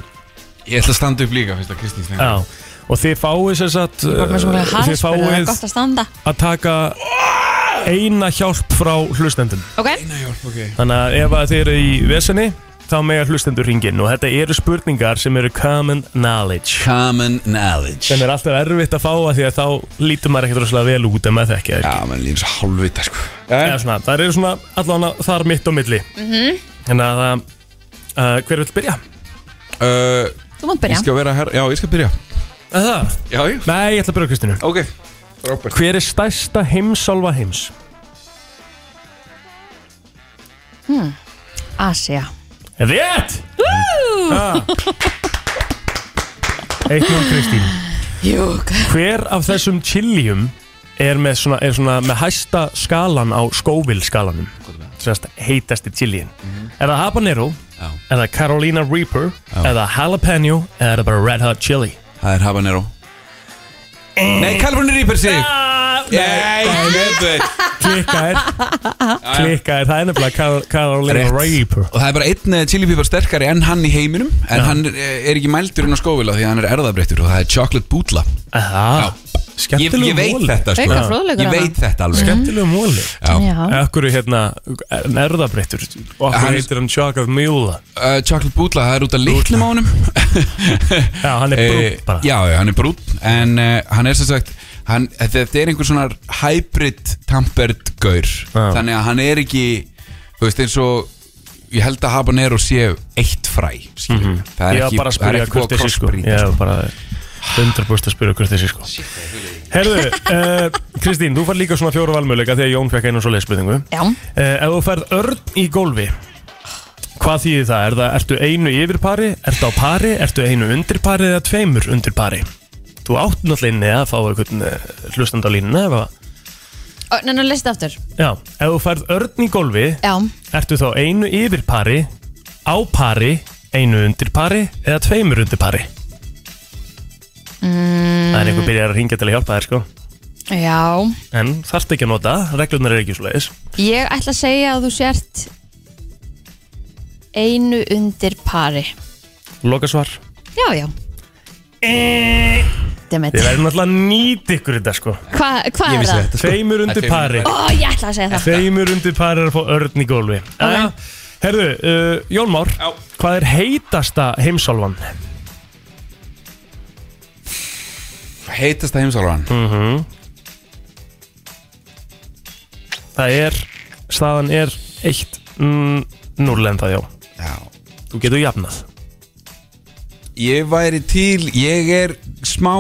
Ég ætla að standa upp líka fyrst að Kristín slengur
Já Og þið fáið sér satt
Bara með svona
Þið
harspur, það er
fáið
gott að standa
að taka eina hjálp frá hlustendum
Ok,
Þannig að ef að þið eru í vesenni þá mega hlustendur ringin og þetta eru spurningar sem eru common knowledge
Common knowledge
sem er alltaf erfitt að fá að því að þá lítur maður ekkert rosalega vel út ef maður þekkja þér
Já, menn líður svo hálfvita sko
Eða svona, það eru svona allan að þar mitt og milli mm Þannig að uh, hver vil byrja?
Uh,
þú mátt
Ég
byrja
skal vera herra, já ég skal byrja
Það?
Já, já
Nei, ég ætla að byrja á Kristínu
Ok, Robert
Hver er stærsta heimsálfa heims?
Asia
Rétt! Ah. Eitt nú Kristín
Júk
Hver af þessum chiljum er með, svona, er svona með hæsta skalan á Scoville skalanum Sérst heitasti chilin Er það habanero?
Já.
Er það Carolina Reaper? Er það jalapeno? Eða er það bara red hot chili?
Það er habanero Nei, Calvin Reaper sig
Ah,
Nei, nefnveit
klikkaðir klikkaðir, það er nefnilega Kar- Carolina
Rétt.
Reaper
Og það er bara einn eh, chili pípar sterkari enn hann í heiminum En hann er, eh, er ekki mældur inn á skóvila því að hann er erðabreittur Og það er chocolate bútla
Aha,
ég,
skemmtilegu
ég veit
móli
þetta
Auka
sko Ég
fróðleikur þarna.
veit þetta alveg
skemmtilegu móli
Já.
Já,
Akkur er hérna erðabreittur og
Hann-
akkur heitir hann Chuck of Mula
Uh, chocolate bútla, það er út af litlum á honum
Já, hann er
Eh,
brútt bara
Já, já, hann er brún En uh, hann er sem sagt hann, Þetta er einhver svona hybrid tampered gaur
Já.
Þannig að hann er ekki Þú veist eins og Ég held að habanero sé eitt fræ mm Það er ekki,
Ég var Mhm. bara að
það er
spyrja
ekki
hvort
búið að
þessi sko
crossbreeda
Ég
sko.
var bara 100% að spyrja hvort þessi sko Herðu, eh, Kristín, þú fær líka svona fjóra valmöðleika þegar Jón fekk einu svo leisbyrðingu
já
Eh, Ef þú færð örn í gólfi Hvað þýðir það? Er það? Ertu einu yfir pari? Ertu á pari? Ertu einu undir pari eða tveimur undir pari? Þú átt náttúrulega inni að fá einhvern eh, hlustand á línuna eða
Ó, Nei, nú listu aftur
Já, ef þú færð örn í gólfi
Já,
Ertu þá einu yfir pari Á pari Einu undir pari Eða tveimur undir pari mm. Það er einhver byrjar að ringja til að hjálpa þér sko
Já,
En þarft ekki að nota, reglurnar er ekki svo leiðis
ég ætla að segja að þú sért einu undir pari
Lokasvar
Já, já Demet,
Þið verðum alltaf að nýta ykkur þetta sko
hvað hva
Ég
er
vissi
það?
þetta sko
Tveimur undir
tveimur
pari
Ó, ég ætla að segja það
Tveimur undir pari er að fá örn í gólfi okay. Herðu, uh, Jón Már
Já.
Hvað er heitasta heimsálfan?
sko. Heitasta heimsálfan
Mm. Það er, staðan er 1-0 en það já
Já
Þú getur jafnað
Ég væri til, ég er smá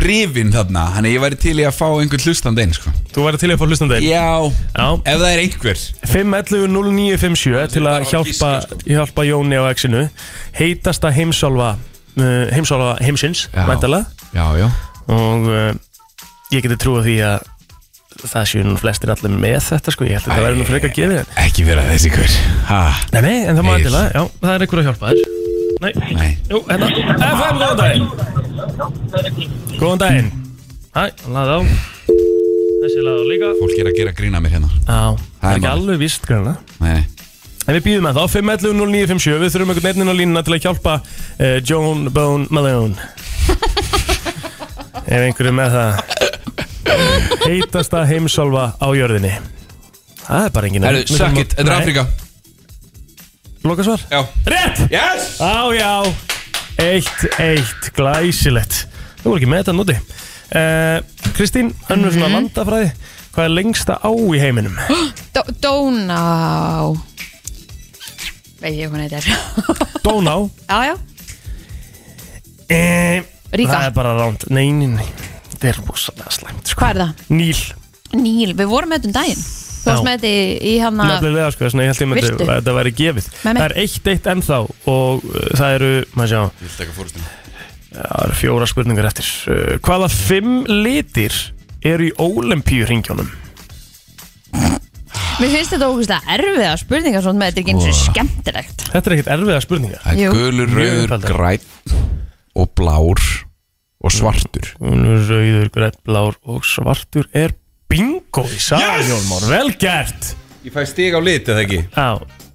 rifin þarna Þannig að ég væri til í að fá einhvern hlustand einn sko.
Þú væri til í að fá hlustandi einn
Já,
Já.
ef það er einhver
5.11.09.57 til að sko. hjálpa, hjálpa Jóni á exinu Heitasta heimsálfa uh, heimsálfa heimsins,
Já.
mæntalega
Já, já
og uh, ég geti trúið því að það séu nú flestir allir með þetta sko, ég held að þetta verður nú frekar að gefa
Ekki vera þessi hver ha,
Nei, nei, en það má
Egill.
endilega, já, það er einhver að hjálpa þér Nei,
Nei,
jú, hérna, FM, góðan daginn Góðan daginn Hæ, hann laði á Þessi laði á líka
fólk er að gera grína mér hérna
Já, það er
málið.
ekki alveg víst grana
Nei, nei.
En við býðum að þá, 5.11.09.57 Við þurfum einhvern veginn á línuna til að hjálpa uh, Joan Bone Malone Ef einhverju með það Heitasta heimsálfa á jörðinni Það er bara enginn
Herru, suck it, þetta er Afrika
Loka svar
Já
Rétt!
Yes
Á já Eitt, eitt, glæsilegt Þú voru ekki með þetta núti uh, Kristín, önnur svona landafræði Hvað er lengsta á í heiminum?
Dó, Dóná Veit ég hvað þetta er
Dóná
Já, já,
Eh,
Ríga.
Það er bara ránt, nei, nei, nei Það er rosalega slæmt sko.
Hvað er það?
Níl,
Níl, við vorum með þetta um daginn Þú varst
Já.
með þetta í, í hann að
nefnilega sko, þess vegna ég held ég
Virtu.
myndi að þetta væri gefið
Nei, nei.
Það er eitt eitt ennþá og uh, það eru, maður sjá,
Ég vil taka fórustina
það eru fjóra spurningar eftir uh, Hvaða fimm litir eru í ólempíu ringjónum?
Mér finnst þetta ógustlega erfiða spurningar Svona með þetta er ekki eins og skemmtilegt
Þetta er ekkert erfiða spurningar
Það
Jú.
er gulur,
Mjög
rauður,
einfaldar.
grænn og blár og svartur
Gulur, rauður, grætt, blár og svartur er bingo í saga yes! Jónmór, vel gert
Ég fæ stig á lit eða ekki
Á,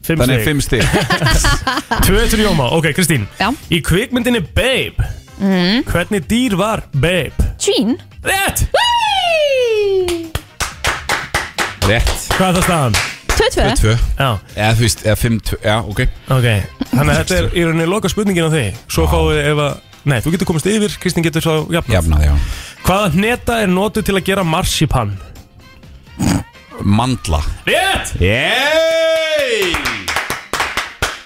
fimm
Þannig
stig,
er fimm stig
tvö til Jóma, ok Kristín
Já. Mhm.
Í kvikmyndinni Babe Hvernig dýr var Babe?
Tvín
Rétt!
Rétt
Hvað er það staðan?
2-2
Tvö
Já,
Eða þú veist, eða fimm, tvö Já, ok
ok Þannig að þetta er í rauninni loka spurningin á þig Svo fáum við ef að Nei, þú getur komist yfir, Kristín getur svo jafn
Jafnaði, já
Hvaða hneta er notuð til að gera marsipan?
Mandla
Rétt!
Yey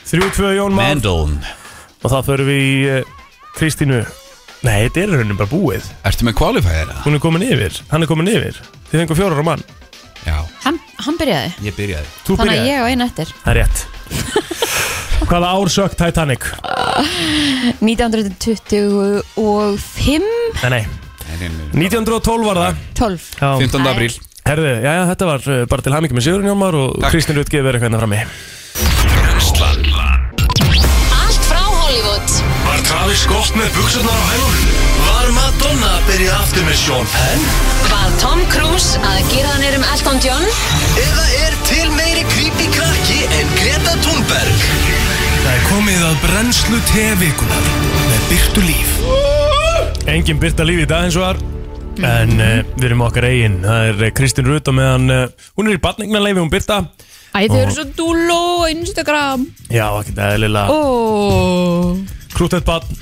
3-2 Jón Már
Mandlun
Og þá förum við í eh, Kristínu Nei, þetta er í rauninni bara búið
Ertu með qualifier eða?
Hún er komin yfir, hann er komin yfir Þið fengum fjórar á mann
Já,
Hann, hann byrjaði
ég byrjaði
Þú
Þannig að
byrjaði
ég á einu eftir
Það er rétt Hvaða ár sökk Titanic?
1925
Nei, nei, 1912 var það
12
Já.
15. apríl
Herðu, já, þetta var uh, bara til hamingi með Sigurinn Jónmar og
Takk.
Kristinn Rutt gefur eitthvað hérna frammi.
Allt frá Hollywood
Var Travis Scott með buksurnar á hælunum? Var Madonna að byrja aftur með Sean Penn?
Var Tom Cruise að gera hann erum Elton John?
Eða er til meiri creepy krakki en Greta Thunberg? Það er komið að brennslu tevikunar með byrtu líf.
Engin byrta lífi í dag eins og var En uh, við erum okkar eigin Það er uh, Kristinn Rutt og meðan uh, Hún er í batningnarleifi, hún byrta
Æ, þau eru svo dúló á Instagram
Já, ekki það er lilla
Ó
oh. krútett batn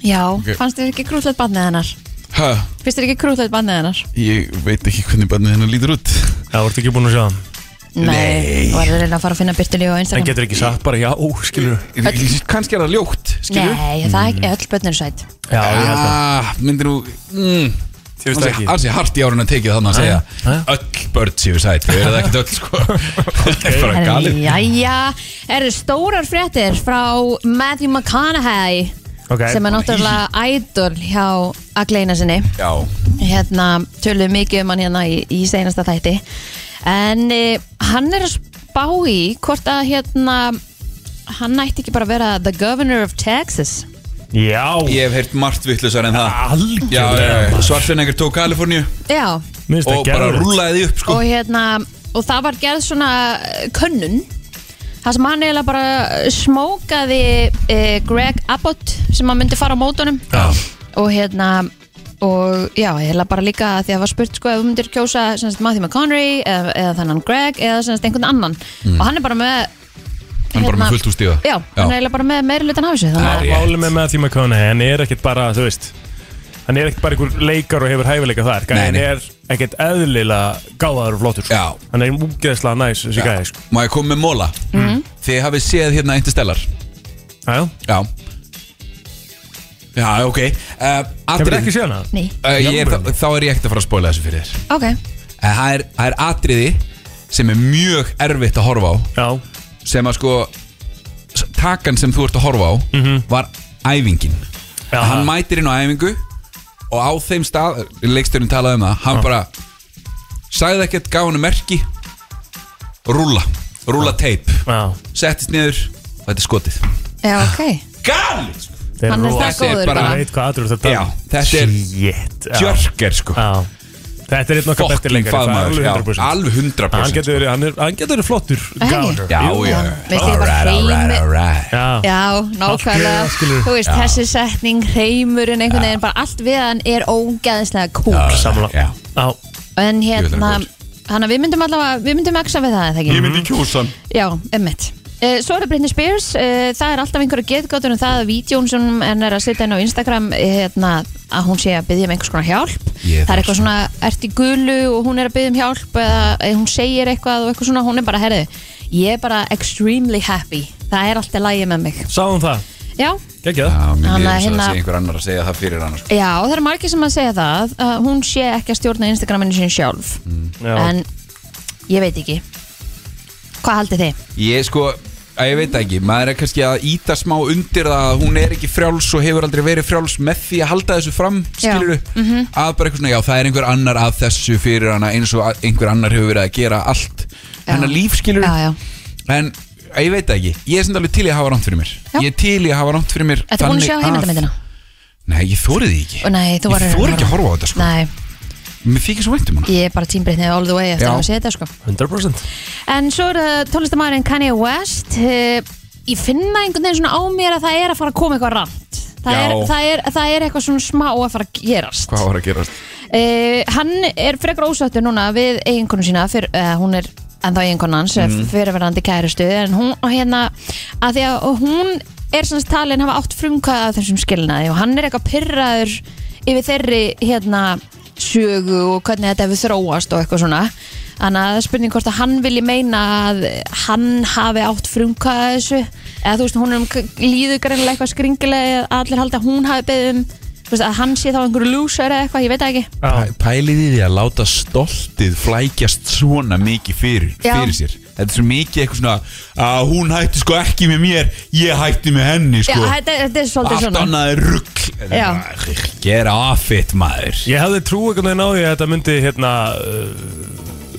Já, fannst þér ekki krútlegt bandið hennar?
Hæ,
Fyrst þér ekki krútlegt bandið hennar?
ég veit ekki hvernig barnið hennar lítur út
Það vortu ekki búin að sjá það
Nei Þú verður reyna að fara að finna Byrtu líf á
En
Instagram
getur ekki sagt bara já, ó, skilur
Kanski er það ljótt, skilju
Nei, það er ekki, öll börn eru sætt
Já, ég held það
Ah, myndir þú mm,
Þið veist ekki
Alls ég hart í árun að tekið þannig að segja
Nei.
Öll börn séu sæt, við erum það ekkert öll sko Það er bara galið
Jæja, eru stórar fréttir frá Matthew McConaughey
Ok.
sem er náttúrulega ædol hjá að gleina sinni
Já,
hérna tölum mikið um hann hérna í, í seinasta þætti en e, hann er að spá í hvort að hérna hann nætti ekki bara að vera the governor of Texas
Já,
Ég hef heyrt margt vittlusar en það Já,
algjörlega maður.
Svarsenegger tók Kaliforníu
Já,
Mér finnst það
og bara
geðveikt.
rúlaði því upp sko
og hérna og það var gerð svona eh, könnun það sem hann eiginlega bara smókaði eh, Greg Abbott sem hann myndi fara á mótunum
Já.
og hérna og já, eiginlega bara líka því að það var spurt sko ef þú myndir kjósa sem sagt, Matthew McConaughey eða, eða þannan Greg eða sem sagt, einhvern annan og hann er bara með
Hann er bara
hérna-
með fullt úr stíða
já, hann er eiginlega bara með meiri lutan af þessu
Það
þannig að
rétt.
Málið með Matthew McConaughey, hann er ekkert bara, þú veist Hann er ekkert bara einhver leikar og hefur hæfileika þar
Nei,
Hann
nei.
er ekkert eðlilega gáðaður og flottur sko.
Já.
Hann er úgeðslega næs þessi
Já.
gæði sko.
Má ég koma með móla
Mhm.
Þið hafið séð hérna Interstellar
Já, já.
Já Já, ok uh,
Hefur ekki séð hana?
Nei.
Uh, ég er,
Jálfur.
þá er ég ekkert að fara að spoila þessu fyrir þér
ok,
En Eh, það er, það er atriði sem er mjög erfitt að horfa á
Já,
sem að sko s- takan sem þú ert að horfa á var æfingin
Já.
hann mætir inn á æfingu og á þeim stað, leikstjörnin talaði um það hann bara sagði ekkert, gaf hann merki rúla, rúla teip
já
settist niður og þetta er skotið
já, ok
galið sko.
Þeir
hann er
rosa-
það
Þetta er
góður
bara-
Ég
bara
veit hvað aðrur þetta
Já, þetta er-
um. Shit, já.
Jörger sko
Já. Þetta er einn okkar betur
Fokking
leikari, það er
faðmaður
alveg
já,
100%
Alveg 100%
Hann getur verið, hann er- hann getur verið flottur
Það er
gáður
ekki?
Já,
Jú.
já
Mér finnst ég bara hreimi-
alright
Já,
Já,
Algjörlega,
nákvæmlega
skilurðu.
Þú veist, þessi setning, reymurinn einhvern veginn, bara allt við hann er ógeðslega cool
sammála
Já.
Já.
En
Ég veit
hérna,
hann er
hann að við myndum allavega við myndum eksa við það, eða ekki?
myndi kjúsan
Já, emmitt Eh, Svo er það Britney Spears, eh, það er alltaf einhverja getgóttur um það að vídjón sem henn er að setja inn á Instagram eh, hérna, að hún sé að byggja um einhvers konar hjálp
Ég
Það er
þarf
eitthvað
svona.
svona, ert í gulu og hún er að byggja um hjálp eða eh, hún segir eitthvað og eitthvað svona, hún er bara, herðu, ég er bara extremely happy, það er alltaf lægi með mig
Sáum það,
Já,
geggjað
Já, mér
Hann
líður eins
að hérna-
og
hinna-
það sé einhver annar að segja það fyrir hann sko.
Já, það eru margir sem að segja það að hún sé ekki að stjórna Instagraminu sín sjálf
Mm.
Já.
en ég veit ekki Hvað haldið þið?
Ég sko, að ég veit það ekki Maður er kannski að íta smá undir það að Hún er ekki frjáls og hefur aldrei verið frjáls Með því að halda þessu fram, skilur
Mhm.
Að bara eitthvað svona, já það er einhver annar að þessu fyrir hana Eins og að- einhver annar hefur verið að gera allt Hennar líf, skilur
Já, já.
En að ég veit það ekki, ég er sem alveg til í að hafa rámt fyrir mér
Já.
Ég er til í að hafa rámt fyrir mér
Þetta búin að
þannig
sjá heimildamindina?
Nei, ég þórið því ekki
Ó, Nei, þú
Ég
varir
þóri ekki að horfa á þetta sko
Nei,
Mér þykir svo vænt um hana
ég er bara tímbreytnið all the way eftir
Já.
að sé þetta sko
100%
En svo er það tónlistamæðurinn Kanye West eh, Ég finna einhvern veginn svona á mér að það er að fara að koma eitthvað rand Það,
Já.
er, það, er, það er eitthvað svona smá að fara að gerast
Hvað var að gerast?
Uh, hann er frekar ósáttur núna við eiginkonu sína fyr, uh, hún er ennþá eiginkonu hans mm. fyrirverandi kærustu en hún og hérna að því að og hún er svona talin hafa átt frumkvæða þessum skilnaði og hann er eitthvað pyrraður yfir þeirri hérna sögu og hvernig þetta hefur þróast og eitthvað svona þannig að það er spurning hvort að hann vilji meina að hann hafi átt frumkvæða þessu eða þú veist hún er um líður greinlega eitthvað skringilega að allir halda að hún hafi beðið um þú veist, að hann sé þá einhverju lúsar eða eitthvað, ég veit það ekki
Já.
Pælið í því að láta stoltið flækjast svona mikið fyrir,
Já.
fyrir sér Þetta er svo mikið eitthvað svona að hún hætti sko ekki með mér ég hætti með henni
Já,
sko
þetta, þetta er svolítið
Allt
svona
annað er rugg
Já.
Gera afitt maður
Ég hefði trú einhvern veginn á því að þetta myndi hérna uh,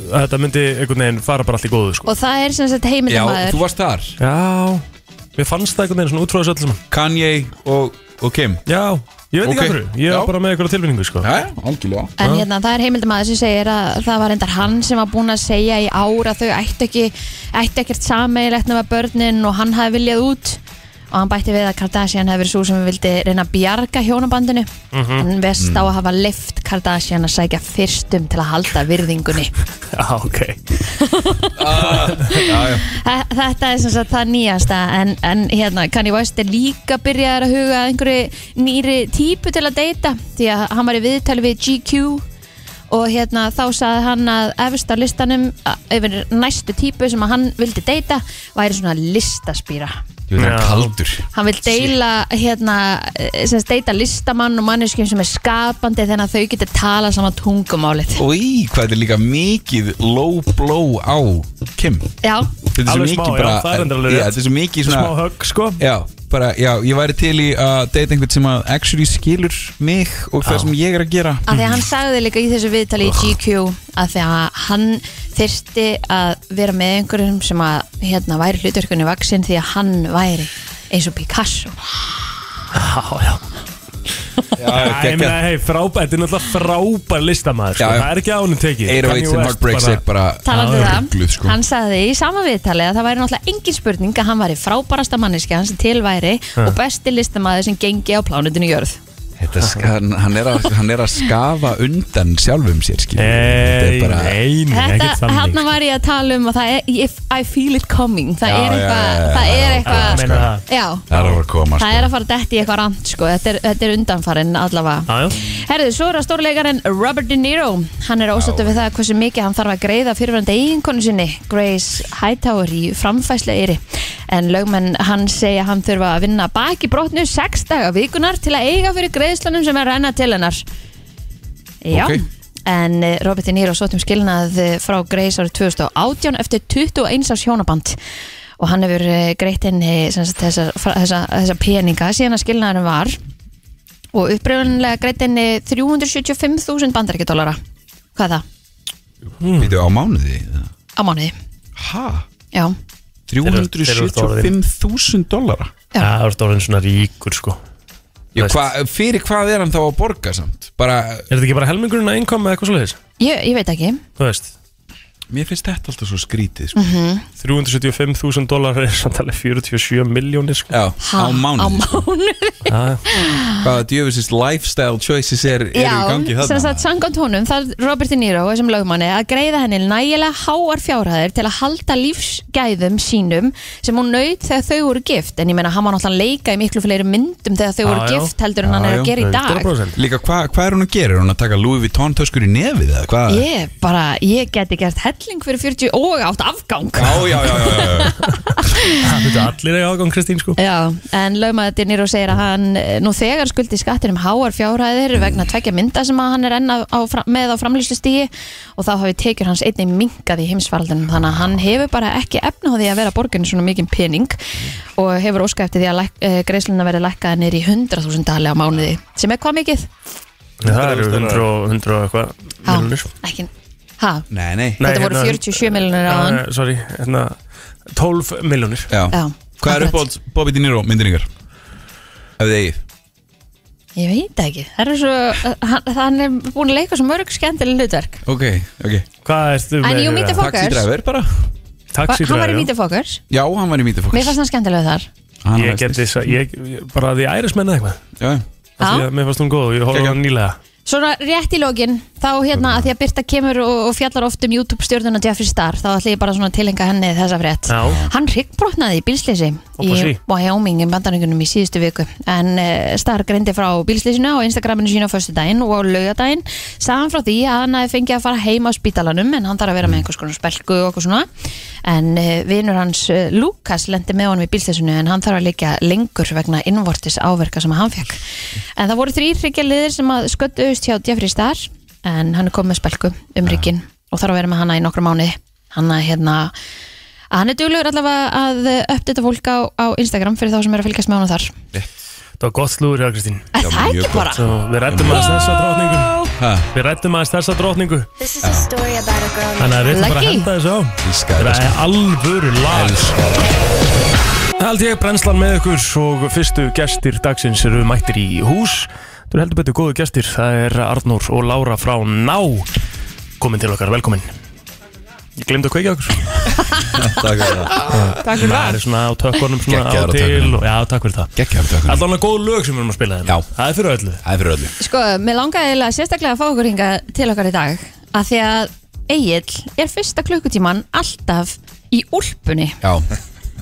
að þetta myndi einhvern veginn fara bara allt í góðu sko.
Og það er sem sagt
Já,
heimildamæður
þú varst þar
Já, mér fannst það einhvern veginn svona útrúðis öll saman
Kanye og, og Kim
Já, ég veit
Ok.
ekki af hverju, ég
Já.
er bara með einhverja tilfinningu sko.
Já, algjörlega
En hérna, það er heimildamæður sem segir að það var endar hann sem var búinn að segja í ár að þau ættu ekki ættu ekkert sameigilegt nema börnin og hann hafi viljað út og hann bætti við að Kardashian hefur verið svo sem vildi reyna að bjarga hjónabandinu
Mhm.
en vest
Mm.
á að hafa lift Kardashian að sækja fyrstum til að halda virðingunni
Já, ok
Þa- Þetta er sem sagt það nýjasta en, en hérna, Kanye West er líka byrjaður að huga að einhverju nýri típu til að deyta því að hann var í viðtali við GQ og hérna þá sagði hann að efst á listanum a- yfir næstu típu sem að hann vildi deyta væri svona listaspýra
Ég veit það
Já.
er kaldur
hann vil deila hérna, eh, sem sagt, deyta listamann og manneskjum sem er skapandi þannig að þau getur tala saman tungumálið
Í, hvað þetta er líka mikið low blow á Kim
Já,
Þetta er svo
Alveg smá,
mikið
já,
bara
það er endur alveg
Já,
rétt.
Þetta er svo mikið svona
Smá högg sko
Já, bara, já, ég væri til í að deyta einhvern sem að actually skilur mig og það sem ég er að gera
af því að hann sagði líka í þessu viðtali í GQ að því að hann þyrsti að vera með einhverjum sem að hérna væri hlutverkunni vaksinn því að hann væri eins og Picasso
Já, já Já, ég meina, hei, frábær, þetta er náttúrulega frábær listamaður, sko,
Já, já.
það er ekki á honum tekið Kanye
808 and
West
Heartbreaks er bara
Talandi
Já,
um
rugluð,
það,
sko.
hann sagði í sama viðtali að það væri náttúrulega engin spurning að hann væri frábærasta manneski hans tilværi og besti listamaður sem gengi á plánutinu jörð
Þetta ska- hann- hann er að- Hann er að skafa undan sjálfum sér skilur. Þetta
Nei,
er bara
nei, nei, ekkert
Þetta,
þannig
hann var ég að tala um og það er, if I feel it coming það
sko. Já,
er
já, já,
eitthvað,
já, já, sko.
það er
Ég
eitthvað
meina það.
já,
Það er að fara að koma
það er
sko.
að fara dætt í eitthvað rand sko, þetta er, þetta er undanfarin allavega
Já, já.
Herðu, svo er að stórleikarinn Robert De Niro hann er ósattu við það hversu mikið hann þarf að greiða fyrirvændi eiginkonu sinni Grace Hightower í framfæslu eiri en lögmenn hann segja að hann þurfa að vinna baki brotnu sex daga vikunar til að eiga fyrir greiðslunum sem er renna til hennar Já
Ok.
En eh, Robert De Niro sótt um skilnað eh, frá Grace árið 2018 eftir 21 árs hjónaband og hann hefur eh, greitt inn eh, sem sagt, þessa, þessa, þessa peninga síðan að skilnaðurinn var og uppröfunlega greitt inn eh, 375.000 bandaríkjadólara hvað er það?
Býtu á mánuði eða?
Á mánuði,
Ha?
já,
eru orðin.
375.000 dollara
Já.
Það er orðin svona ríkur, sko
Já,
Veist.
hva, fyrir hvað er hann þá að borga samt? Bara,
Er þetta ekki bara helmingurinn að einnkom eða eitthvað svoleiðis?
ég, ég veit ekki
Þú veist,
mér finnst þetta alltaf svo skrítið sko.
Mhm.
375.000 dólar er samtalið 47 miljónir, sko
Já, á
Ha, á
mánuði
mánuði.
Já,
Hvaða djöfisins lifestyle choices er, eru í gangi
Já, sem
þarna?
sagt samkvæmt honum þarf Robert De Niro þessum lögmanni að greiða henni nægilega háar fjárhæðir til að halda lífsgæðum sínum sem hún naut þegar þau voru gift en ég meina hann var náttúrulega að leika í miklu fleiri myndum þegar þau
Já,
voru
já.
gift heldur en
Já,
hann er
já.
að gera í dag
100%
Líka, hvað hva er hún að gera? Er hún að taka Louis Vuitton töskur í nefið eða hvað?
Ég bara, ég geti gert helling fyrir 40 og átt afgang
Já, já, já, já, já, já.
Þetta allir er ágang, Kristín, sko
Já, en lögmaður De Niro segir að hann eh, nú þegar skuldi skattinum háar
Mm.
fjárhæðir vegna tvekja mynda sem að hann er enn á, á, fram- með á framlýslustígi og þá hafi tekjur hans einnig minkað í heimsfaraldunum þannig að hann hefur bara ekki efna á því að vera borginu svona mikinn pening og hefur óskað eftir því að læk- eh, greiðsluna verði lækkað neyri 100.000 dali á mánuði sem er hvað mikið?
Það eru 100 og 100 og eitthvað
Já,
miljónir
ekki, ha,
Nei, nei
Nei,
þetta voru
hérna-
47 miljonir á hann
Eh, Sorry, hérna 12 miljónir
já.
Já,
Hvað er
akkurat.
uppáhalds Bobby De Niro myndiringar? Ef þið eigið
Ég veit það ekki, það er svo, eh, hann, hann er búin að leika svo mörg skemmtileg hlutverk
Ok, ok
Hvað ertu með? hérna?
En jú, mítið
Taxi
fokkars
driver bara
Hann
Taxi
var í
driver, já.
Vita Fokkers
Já, hann var í mítið
Mér
fólks
fannst hann skemmtilega þar
Hann
Ég
var
geti
veist.
þess að, ég, ég- bara því ærismenn eða eitthvað
Já, já.
Af Því
Já.
að mér fannst hún góð og ég horfði á
Kekja.
hann nýlega
Svona rétt í lokin Þá hérna að því að Birta kemur og, og fjallar oft um YouTube stjórnuna Jeffree Star Þá ætla ég bara svona að tilhenga henni þessa frétt
Já,
Hann hryggbrotnaði í bílsleysi í
Oppa sí.
Wyoming í bandarengunum í síðustu viku en uh, Star greindi frá bílsleysinu á Instagraminu sínu á föstudaginn og á laugadaginn saman frá því að hann hafi fengið að fara heim á spítalanum en hann þarf að vera með einhvers konar spelku og okkur svona en uh, vinur hans uh, Lukas lendi með honum í bílsleysinu en hann þarf að líka lengur vegna innvortis áverka sem hann fekk en það voru þrýr hryggjarliðir sem að sköttuðust hjá Jeffrey Star en hann er komið með spelku um rygginn og þarf að vera með hana í nokkra mánuði hann að hérna að hann er duglegur allavega að uppdata fólk á, á Instagram fyrir þá sem er að fylgjast með honum þar
það var gott slúður hjá Kristín
Er það
mjög
ekki
gott.
bara?
Svo við rættum aðeins þessa drótningu
Ha,
Við rættum aðeins þessa drótningu
This is a story about a girl
Þannig að við ætlum bara að
Lucky.
henda þessu á
Ískaði
Það er alvöru lag Hald ég brennslan með ykkur og fyrstu gestir dagsins eru mættir í hús Þú eru heldur betur góðu gestir, það er Arnór og Lára frá Ná Komin til okkar, velkomin Ég glemdi að kveikja okkur
Takk fyrir það
Takk fyrir
Það er svona á tökkunum svona á
Geggjaður á
til
tökkunum.
og, Já, takk fyrir það
Gekkjafn takk fyrir
Alltaf hann góð lög sem við erum að spila
Já.
þeim Það er fyrir öllu
Það er fyrir öllu
Sko, mér langaði eiginlega sérstaklega að fá okkur hinga til okkar í dag að því að Egil er fyrsta klukkutíman alltaf í úlpunni
Já,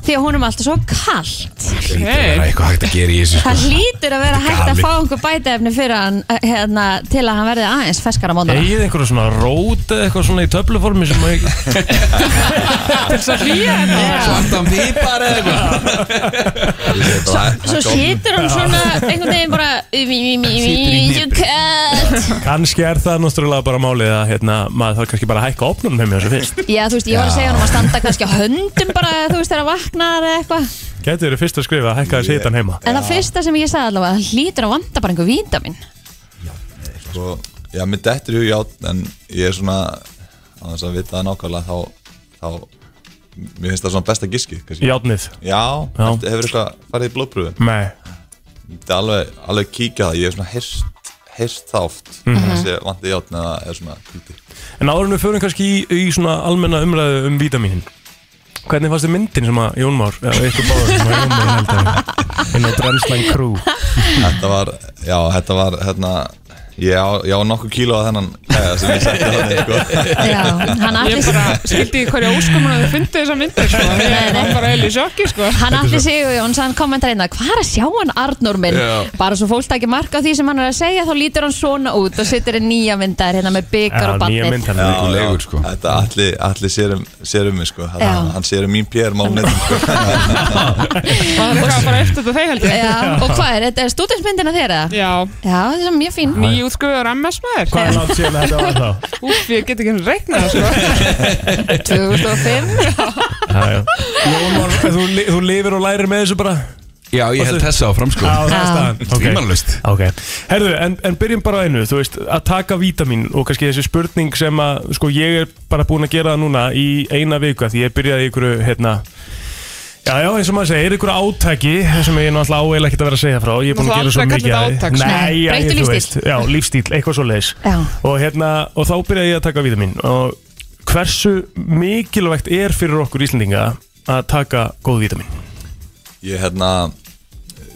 því að honum er alltaf svo kallt
það er eitthvað hægt að gera í þessu sko.
Það hlýtur að vera hægt að
galið.
fá einhver bætaefni fyrir hann eh, hérna, til að hann verði aðeins ferskar á mótana
Egið einhverja svona rót eða eitthvað svona í töfluformi sem að Til þess að hlýja henni
Svartan pípar eða eitthvað
Svo situr hann svona einhvern veginn bara
Situr í
You
hnipri.
cut
Kannski er það náttúrulega bara málið að hérna, maður þarf kannski bara að hækka opnunum heim hjá þessu fyrst
Já, þú veist, ég var að segja hann um að standa kannski á höndum bara, þú veist, þegar vaknar eða eitthvað
Gæti verið fyrst að skrifa að hækka þessi hitan heima
En það fyrsta sem ég sagði allavega, hann hlýtur að vanda bara einhver vítamin
sko, já, mér dettur í hug játn en ég er svona á þess að vita það nákvæmlega þá, þá mér finnst það svona besta giski kannski.
Játnið
já, já.
Já.
Eftir, hefur eitthvað farið í blóðpröfu
Nei
ég myndi alveg, alveg kíkja á það, ég hef svona heyrst, heyrst það oft mm -hmm. þessi vandi játn eða eða svona kvíti
En áður en við förum kannski í, í svona almenna umræðu um vítamínin Hvernig fannst þið myndin sem að Jón Már eða eitthvað báður sem að Jón Már heldur inn á Brennslan Crew
Þetta var, já, þetta var hérna, ég á, ég á nokkuð kíló að þennan kæða sem ég setti þannig sko.
Já, hann
Ég
allir
bara skildi í hverju óskumuna þau fundið þessa myndir sko.
Nei,
Ég
nei.
var bara eil í sjokki sko.
Hann allir sig og Jóns, hann kommentar einna Hvað er að sjá hann Arnór minn?
Já.
Bara svo fólk ekki marka því sem hann er að segja Þá lítur hann svona út og situr í nýja myndar Hérna með byggar og
nýja
bannir
mynd hann
Já. legur, sko.
Þetta allir alli sér, um, sér um mig sko.
Já.
hann, hann sér um mín PR málnið sko.
Og það var bara eftir þetta þegar held ég
Já, og hvað er, þetta er stúdensmyndina þeirra?
Já,
Já, þetta er mjög fín
nýjútskrifaður MS maður
Hvað er langt síðan þetta var þá?
Úf, ég get ekki hann reiknað það sko.
2005
Já, já. Jón Már, þú, li- þú lifir og lærir með þessu bara
Já, ég held þessa áfram sko
Já, það er staðan
Tvímalust
Ok, herðu, en, en byrjum bara á einu, þú veist, að taka vítamin og kannski þessi spurning sem að, sko, ég er bara búin að gera það núna í eina viku að því ég byrjaði í einhverju, hérna, já, já, eins og maður segir, er einhverju átaki sem ég náttúrulega áeila ekkert að vera að segja frá, ég er búin að gera
Náttúrulega
svo
aldrei
mikið
kallað
af því.
átak, sko.
Nei,
Nei,
já,
breyttu
ég- þú
lífsstíl.
veist, Já, lífstíl, eitthvað svo leiðis
Já.
og, hérna, og þá byrjaði ég að taka vítamin og hversu mikilvægt er fyrir okkur Íslendinga að taka góð vítamin?
ég hérna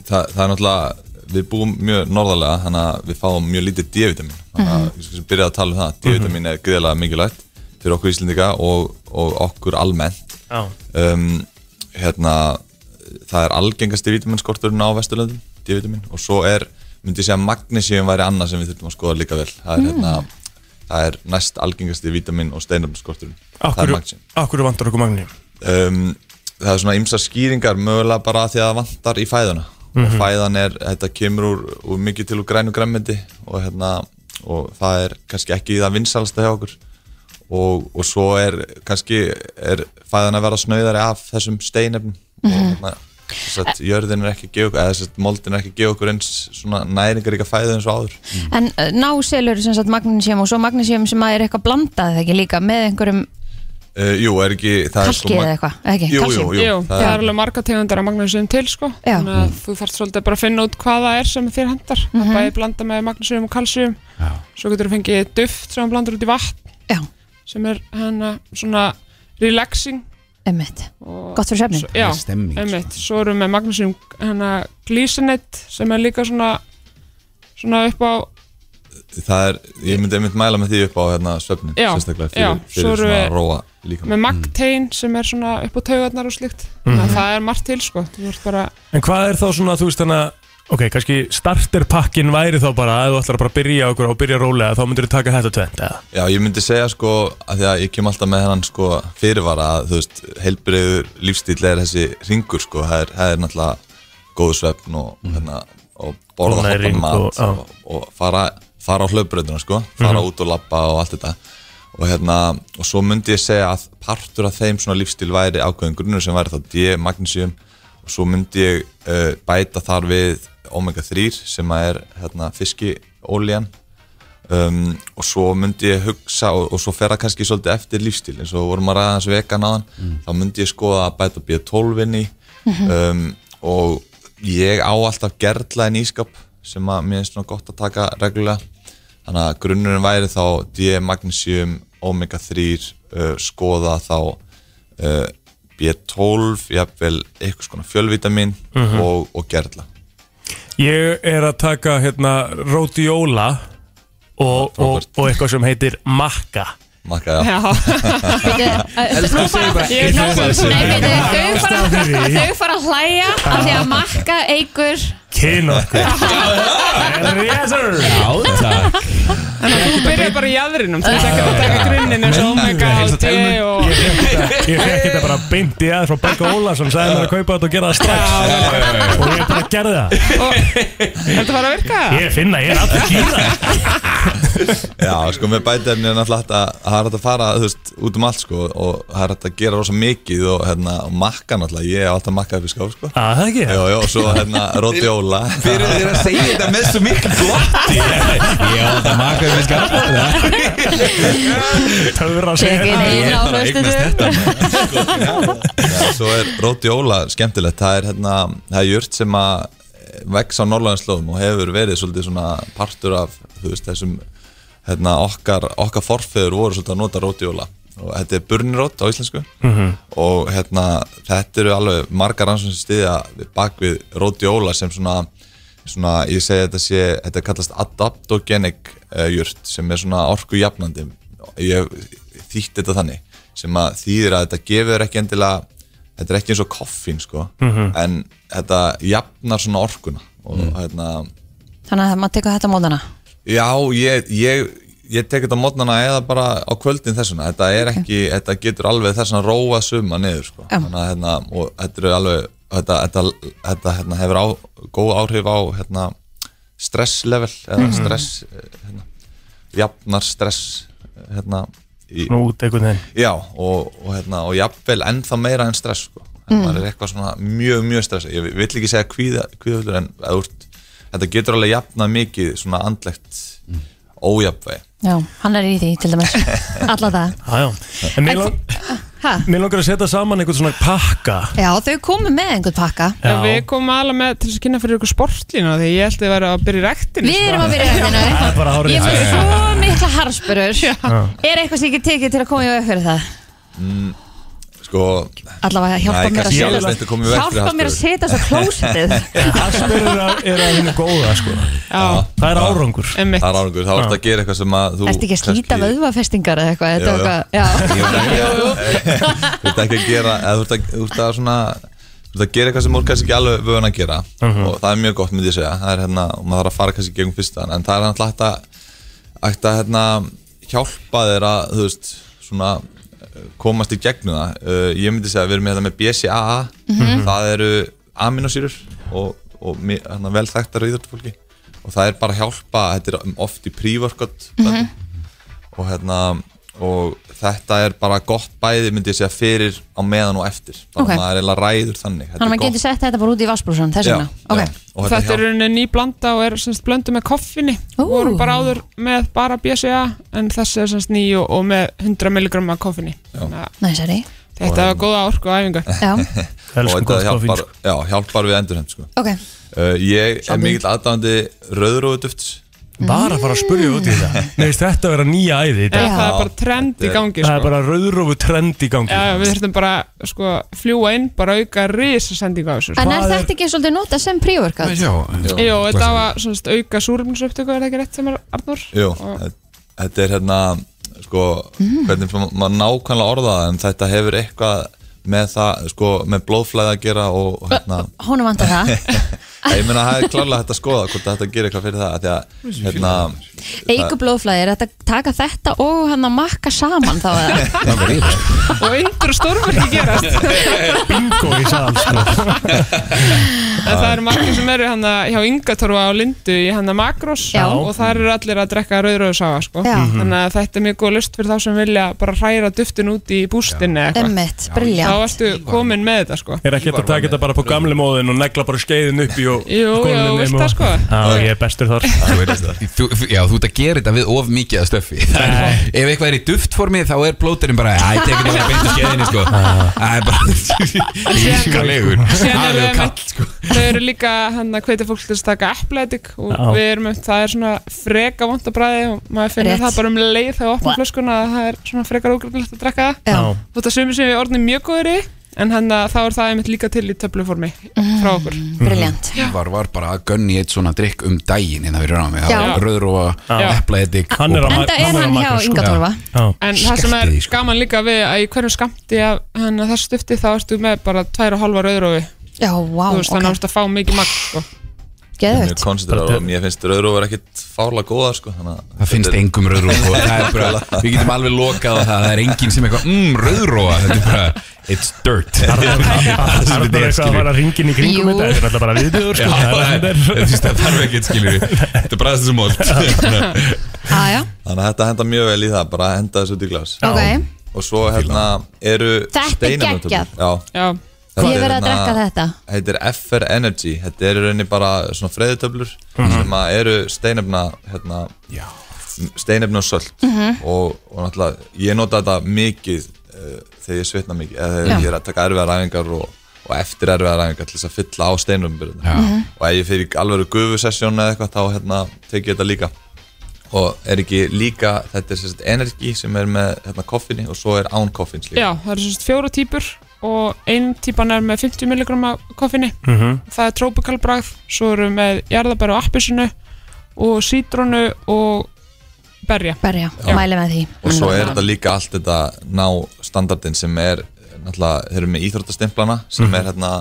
það, það er náttúrulega, við búum mjög norðarlega þannig að við fáum mjög lítið D-vitamin þannig að við skulum byrja að tala um það D-vitamin er greiðlega mikilvægt fyrir okkur Íslendinga og, og okkur almennt
Já,
um, hérna, það er algengasti vitaminskorturinn á Vesturlöndum, D-vitamin og svo er, myndi ég segja magnesíum væri annað sem við þurfum að skoða líka vel það er, hérna, það er næst algengasti vitamin og steinarmskorturinn það er
okkur,
magnesíum
okkur vantar okkur magnum?
um, það er svona ymsa skýringar mögulega bara af því að það vantar í fæðuna og fæðan er, þetta kemur úr, úr mikið til úr grænu græmmindi og, hérna, og það er kannski ekki það vinsalasta hjá okkur og, og svo er kannski er fæðan að vera snauðari af þessum steinefnum og hérna þess að jörðin er ekki að gefa okkur eða þess að moldin er ekki að gefa okkur eins svona næringaríka fæðu eins og áður
En uh, náselur sem sagt magnésium og svo magnésium sem að er eitthvað blandað eða ekki líka með einhverjum
uh, Jú, er ekki það er sko
kalki
mag-
eða eitthvað, eða ekki,
Jú,
kalsíum.
jú, jú,
Jú, það er alveg marga tegundar af magnesium til sko.
Já.
Þannig að þú þarfst svolítið bara að finna út hvað það er sem þér hendar
Mhm.
Bæði blanda með magnesium og kalsium Svo getur þú fengið duft sem hann blandar út í vatn
Já,
sem er hana, svona relaxing
emmitt,
og
gott fyrir
Svo-
svefnin
Já,
stemming, sko.
einmitt, svo erum við með Magnúsum hana glísinett sem er líka svona svona upp á,
það er, ég myndi einmitt mæla með því upp á hérna svefnin,
Já,
sérstaklega
já,
fyrir,
svo
fyrir svona
erum við-
róa líka
með magtein sem er svona upp á taugarnar og slikt þannig að það er margt til sko þú ert bara,
En hvað er þá svona, þú veist þannig að Ok, kannski starterpakkin væri þá bara að þú ætlar bara að byrja okkur og byrja rólega þá myndir þú taka þetta tvend eða?
Já, ég myndi segja sko að því að ég kem alltaf með hennan sko fyrirvara að þú veist, heilbreyður lífstíl er þessi ringur sko, það er, það er náttúrulega góð svefn og, hérna, og borða
Og næring
hoppan mat
Mhm. og- já. Mhm.
og, og fara, fara á hlaupbröðuna sko, fara út og labba og allt þetta og hérna, og svo myndi ég segja að partur af þeim svona lífstíl væri ákveðin grunnur sem væri þá D, magnesium og svo myndi ég uh, bæta þar við omega 3 sem að er hérna, fiskiólían um, og svo myndi ég hugsa og, og svo fer það kannski svolítið eftir lífstíl eins og vorum að ræða þessu vegan aðan þá myndi ég skoða að bæta B12 inn í um, og ég á alltaf gerla en ískap sem að mér er svona gott að taka reglulega þannig að grunnurinn væri þá D, magnesium, omega 3 uh, skoða þá uh, B12 jafnvel eitthvað svona fjölvitamin og, og gerla
Ég er að taka hérna rhodiola og, og,
Frábært.
og eitthvað sem heitir makka
Makka, já.
já,
Nú bara
ég er hljóðsum þessu
Nei, veitu, þau
Ástæðan fyrir
fara-
því.
þau fara að hlæja af því að makka eigur
Kynorku Yes sir
Átak
þú byrjar bara í aðrinum þú veist ekki að taka grunninn eins og omega og D og
Ég fekk þetta bara beint í aðeins frá Begga Ólason sagði mér að kaupa þetta og gera það strax og ég bara gerði það
þetta var að virka
Ég finna, ég er alltaf kýra
Já, sko, með bætefni er náttúrulega hægt að það er hægt að fara, þú veist, út um allt, sko og það er hægt að gera rosa mikið og, hérna, og makka náttúrulega, ég hef alltaf makkað upp í skáp, sko
Það ekki
Jó, jó, og svo, hérna, rotjóla
Fyrir þér að segja þetta með svo mikil glotti Ég á þetta makaði með skapna
Töfra að segja
Tekin
þetta
einn á föstudu
Já, svo er rotjóla skemmtilegt, það er, hérna, það er jurt sem að vex á norrlæðinslóðum og hefur verið svolítið svona partur af þú veist, þessum hérna, okkar, okkar forfeður voru svolítið að nota rótjóla og þetta er burnirót á íslensku
Mhm.
og hérna, þetta eru alveg margar rannsóknir sem stiðja við- bak við rótjóla sem svona, svona ég segi þetta sé, þetta kallast adaptogenic uh, jurt sem er svona orkujafnandi ég hef þýtt þetta þannig sem að þýðir að þetta gefur ekki endilega þetta er ekki eins og koffín sko
Mhm.
en þetta jafnar svona orkuna og hérna
Þannig að maður tekur þetta mótana
já, ég, ég, ég tek þetta á mótnana eða bara á kvöldin þessuna þetta er ekki, þetta getur alveg þessuna róa suma niður sko
Já.
að, hérna, og þetta eru alveg þetta, þetta, þetta hérna, hefur á, góð áhrif á hérna, stresslevel eða
Mhm.
stress eh, hérna, jafnar stress eh, hérna, í,
Nú út einhvern veginn
já og, og, hérna, og jafnvel ennþá meira en stress sko. en
Mm.
maður er eitthvað svona mjög mjög stressað ég vill ekki segja kvíða, kvíðafulur en eða þú ert, þetta getur alveg jafnað mikið svona andlegt mm. ójafnvegi
Já, hann er í því til dæmis Alla það
Já, já. En mér, lang,
ha?
mér langar að setja saman einhvern svona pakka
Já, þau komu með einhvern pakka
Já.
Við komum alveg með til þess að kynna fyrir ykkur sportlínu Því ég held að þið væri að byrja í sko. rektinu
Við erum að byrja í rektinu.
Það er bara hárið
Ég fór
rétt.
svo mikla harspörur Er eitthvað sem ég get tekið til að koma í veg fyrir það?
mm, sko
Allavega hjálpa mér
Nei,
að
kannski
setja
ég ætla ekki að koma í veg fyrir
Hjálpa mér að
harspörur.
setja svo klósitið
Harspörur eru að- eru að hinu góða sko
Já,
Það er árangur
emmitt
það er árangur, þá ertu að gera eitthvað sem að þú
Ertu ekki að slíta
kannski-
vöðvafestingar eða eitthvað? Þetta
Já,
var
já.
eitthvað- Já,
Ég veit ekki að- þú ert ekki að gera eða þú ert að, þú ert að svona þú ert að gera eitthvað sem þú ert kannski ekki alveg vöðun að gera og það er mjög gott myndi ég segja það er hérna, og maður þarf að fara kannski í gegnum fyrsta en það er hann hægt að hægt að hérna, hjálpa þér að þú veist, svona eh, komast í gegnum það uh, ég myndi segja að við erum með þetta með BCAA
Mhm.
það eru aminosýrur og, og mi- hérna, vel þekktar í þetta fólki og það er bara að hjálpa, þetta er oft í pre-workout
Mhm.
og hérna og þetta er bara gott bæði myndi ég segja fyrir á meðan og eftir bara
Ok.
maður er eiginlega ræður þannig
Þannig að
þetta er
maður getur
gott
sett þetta bara út í vassbrúsan Þess
Já,
vegna
já.
Ok,
og þetta,
Þetta er rauninni ný blanda og er semst blöndu með koffinni Við vorum bara áður með bara BCA en þessi er semst ný og, og með 100 mg af koffinni Þannig að
næsari
Þetta var góða orku og æfingu
Já,
hjálpar, og þetta hjálpar, já, hjálpar við endurhend sko.
ok
uh, ég er mikill aðdáðandi rauðróðuduft
Bara að fara að spurja út í það Mér finnst þetta að vera nýja æði í
Já,
dag
það er bara trend í gangi
Það er
sko.
bara rauðrófu trend í gangi
Já, já, við þurfum bara sko, fljúa inn, bara auka risasendingu á þessu sko.
En er þetta ekki svolítið nota sem prívorkat?
Jó, þetta var svona auka súrumnisupptöku, er það ekki rétt sem er Arnur?
Jú, þe- þetta er hérna sko,
Mhm.
hvernig ma- maður nákvæmlega orða það en þetta hefur eitthvað með það, sko, með blóðflæði að gera og, og hérna
Hún vantar það
Nei, ég meina, það er klárlega hægt að skoða hvort þetta gerir eitthvað fyrir það af því að, hérna,
Eiku blóðflæði, er þetta taka þetta og hann að makka saman þá eða?
Og yndur stormur ekki gerast
Bingo í sal sko.
En það eru margir sem eru hana, hjá Ingatorfa og Lindu í hana Makros
Já.
og þar eru allir að drekka rauðröðsaga sko.
Já. Mhm.
þannig að þetta er mjög góð lust fyrir þá sem vilja bara hræra duftin út í bústinni eða eitthvað.
Emmitt, briljant
þá ertu komin með þetta sko.
Er ekki hægt að taka þetta bara på gamle móðin og negla bara skeiðin upp í og
Jú,
skólinni
jú,
nema
veist
og-
það sko
Já, ég er bestur þar
Þú veist það. Þú, já, þú ert að gera þetta við of mikið að stöffi Það er, Ef eitthvað er í duftformi þá er plóterinn bara Æ, tekið þetta beint úr skeiðinni sko Það er bara Líkalegur
Síðan
Það
eru
er
við
kall sko
Þau eru líka hann að hvetja fólk til þess að taka Athletic og
Já.
við erum, það er svona freka vondabræði og maður finnir
Rétt.
það bara um leið þegar við opnum flöskuna að það er svona frekar ógrunlegt að drekka það
Já.
Þú veist að sumir sem við orðnum mjög góður í en hann að þá er það einmitt líka til í töfluformi
Mm.
frá okkur
Briljant
Ívar var bara að gönni eitt svona drikk um daginn hérna fyrir rámi
Já.
Röðrófa,
Já.
eplaedik
Hann er að
að
Enda er hann hjá Inga Torfa.
Já,
En það sem er
Skellti því, sko.
gaman líka við að í hverju skamti af hann að þessu stifti þá ertu með bara tvær og halva rauðrófi
Já, vá,
Þú veist þannig að
ok,
þú ert að fá mikið magn sko.
mjög
geðvögt
konsiderar og mér finnst rauðrófur ekkit fárlega góða, sko, þannig að
Það finnst engum rauðrófa og það er bara, Við getum alveg lokað á það Það er enginn sem eitthvað, mmm, rauðrófa Þetta er bara, it's dirt Það er bara
Það er bara eitthvað að fara ringin í kringum
Jú.
þetta Þetta er alltaf bara viðbjöður
Já,
sko.
það
Það er-
er,
þetta er-
það þarf ekki eitt skilur Þetta er bræðast sem ólt
Aja,
Þannig að þetta henda mjög vel í það, bara að henda þessu út í glas
ok
Og svo hérna eru
Þetta er
steinefnatöflur.
geggjað.
Já,
Já,
þetta
Ég verði
er
að
hérna-
drekka þetta
heitir FR Energy þetta eru í rauninni bara svona freyðutöflur sem að eru steinefna hérna, steinefna og söld
Mhm.
og, og eh, náttúrulega ég nota þetta mikið uh, þegar ég svitna mikið eða þegar ég er að taka erfiðar æfingar og, og eftir erfiðar æfingar til þess að fylla á steinrömburðina
Já. Mhm.
og ef ég fyrir alveg gufusessjón eða eitthvað þá hérna, tek ég þetta líka og er ekki líka þetta er sérst energi sem er með hérna, koffinni og svo er án koffins líka
Já, það eru svona fjóra típur og ein típan er með 50 mg koffinni
Mhm.
það er tropical bragð, svo eru með jarðabæri og appisinu og sítrónu og berja
Berja, mæli með því
og svo er þetta líka allt þetta ná standardin sem er náttúrulega, þeir eru með íþróttastimplana sem
Mhm.
er hérna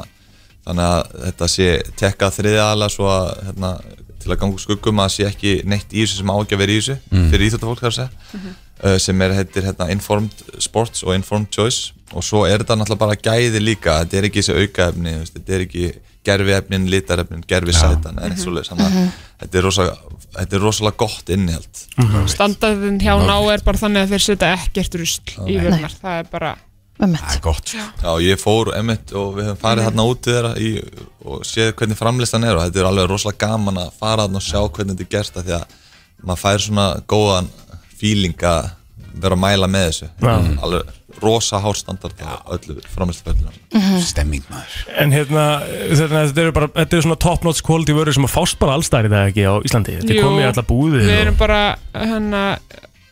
þannig að þetta sé tekka þriðja aðla svo að hérna, til að ganga úr skuggum að sé ekki neitt í þessu sem á ekki að vera í þessu
Mhm.
fyrir íþróttafólk þar að segja
Mhm.
uh, sem er heitir hérna, informed sports og informed choice og svo er þetta náttúrulega bara gæði líka þetta er ekki þessi aukaefni, þú veist, þetta er ekki gerfiefnin, litarefnin, gerfisætan eða neitt svoleiðis, þannig að
Mhm.
þetta er rosa- þetta er rosalega gott innihald
standaðin hjá ná er bara þannig að þeir setja ekkert rusl í
Nei.
vörnar það er bara
Það
er gott
Já, ég fór emmitt og við höfum farið þarna út til þeirra í, og séð hvernig framlistan er og þetta er alveg rosalega gaman að fara þarna og sjá hvernig þetta er gert af því að maður fær svona góðan feeling að vera að mæla með þessu
Já.
alveg rosa hárstandard á öllu framlistaföllunar
Stemming maður
En hérna, þetta, þetta eru bara, þetta eru svona top notch quality vörur sem að fást bara allstæri það ekki á Íslandi. Þetta er
Jú,
komið í alla búðir.
við erum bara hana,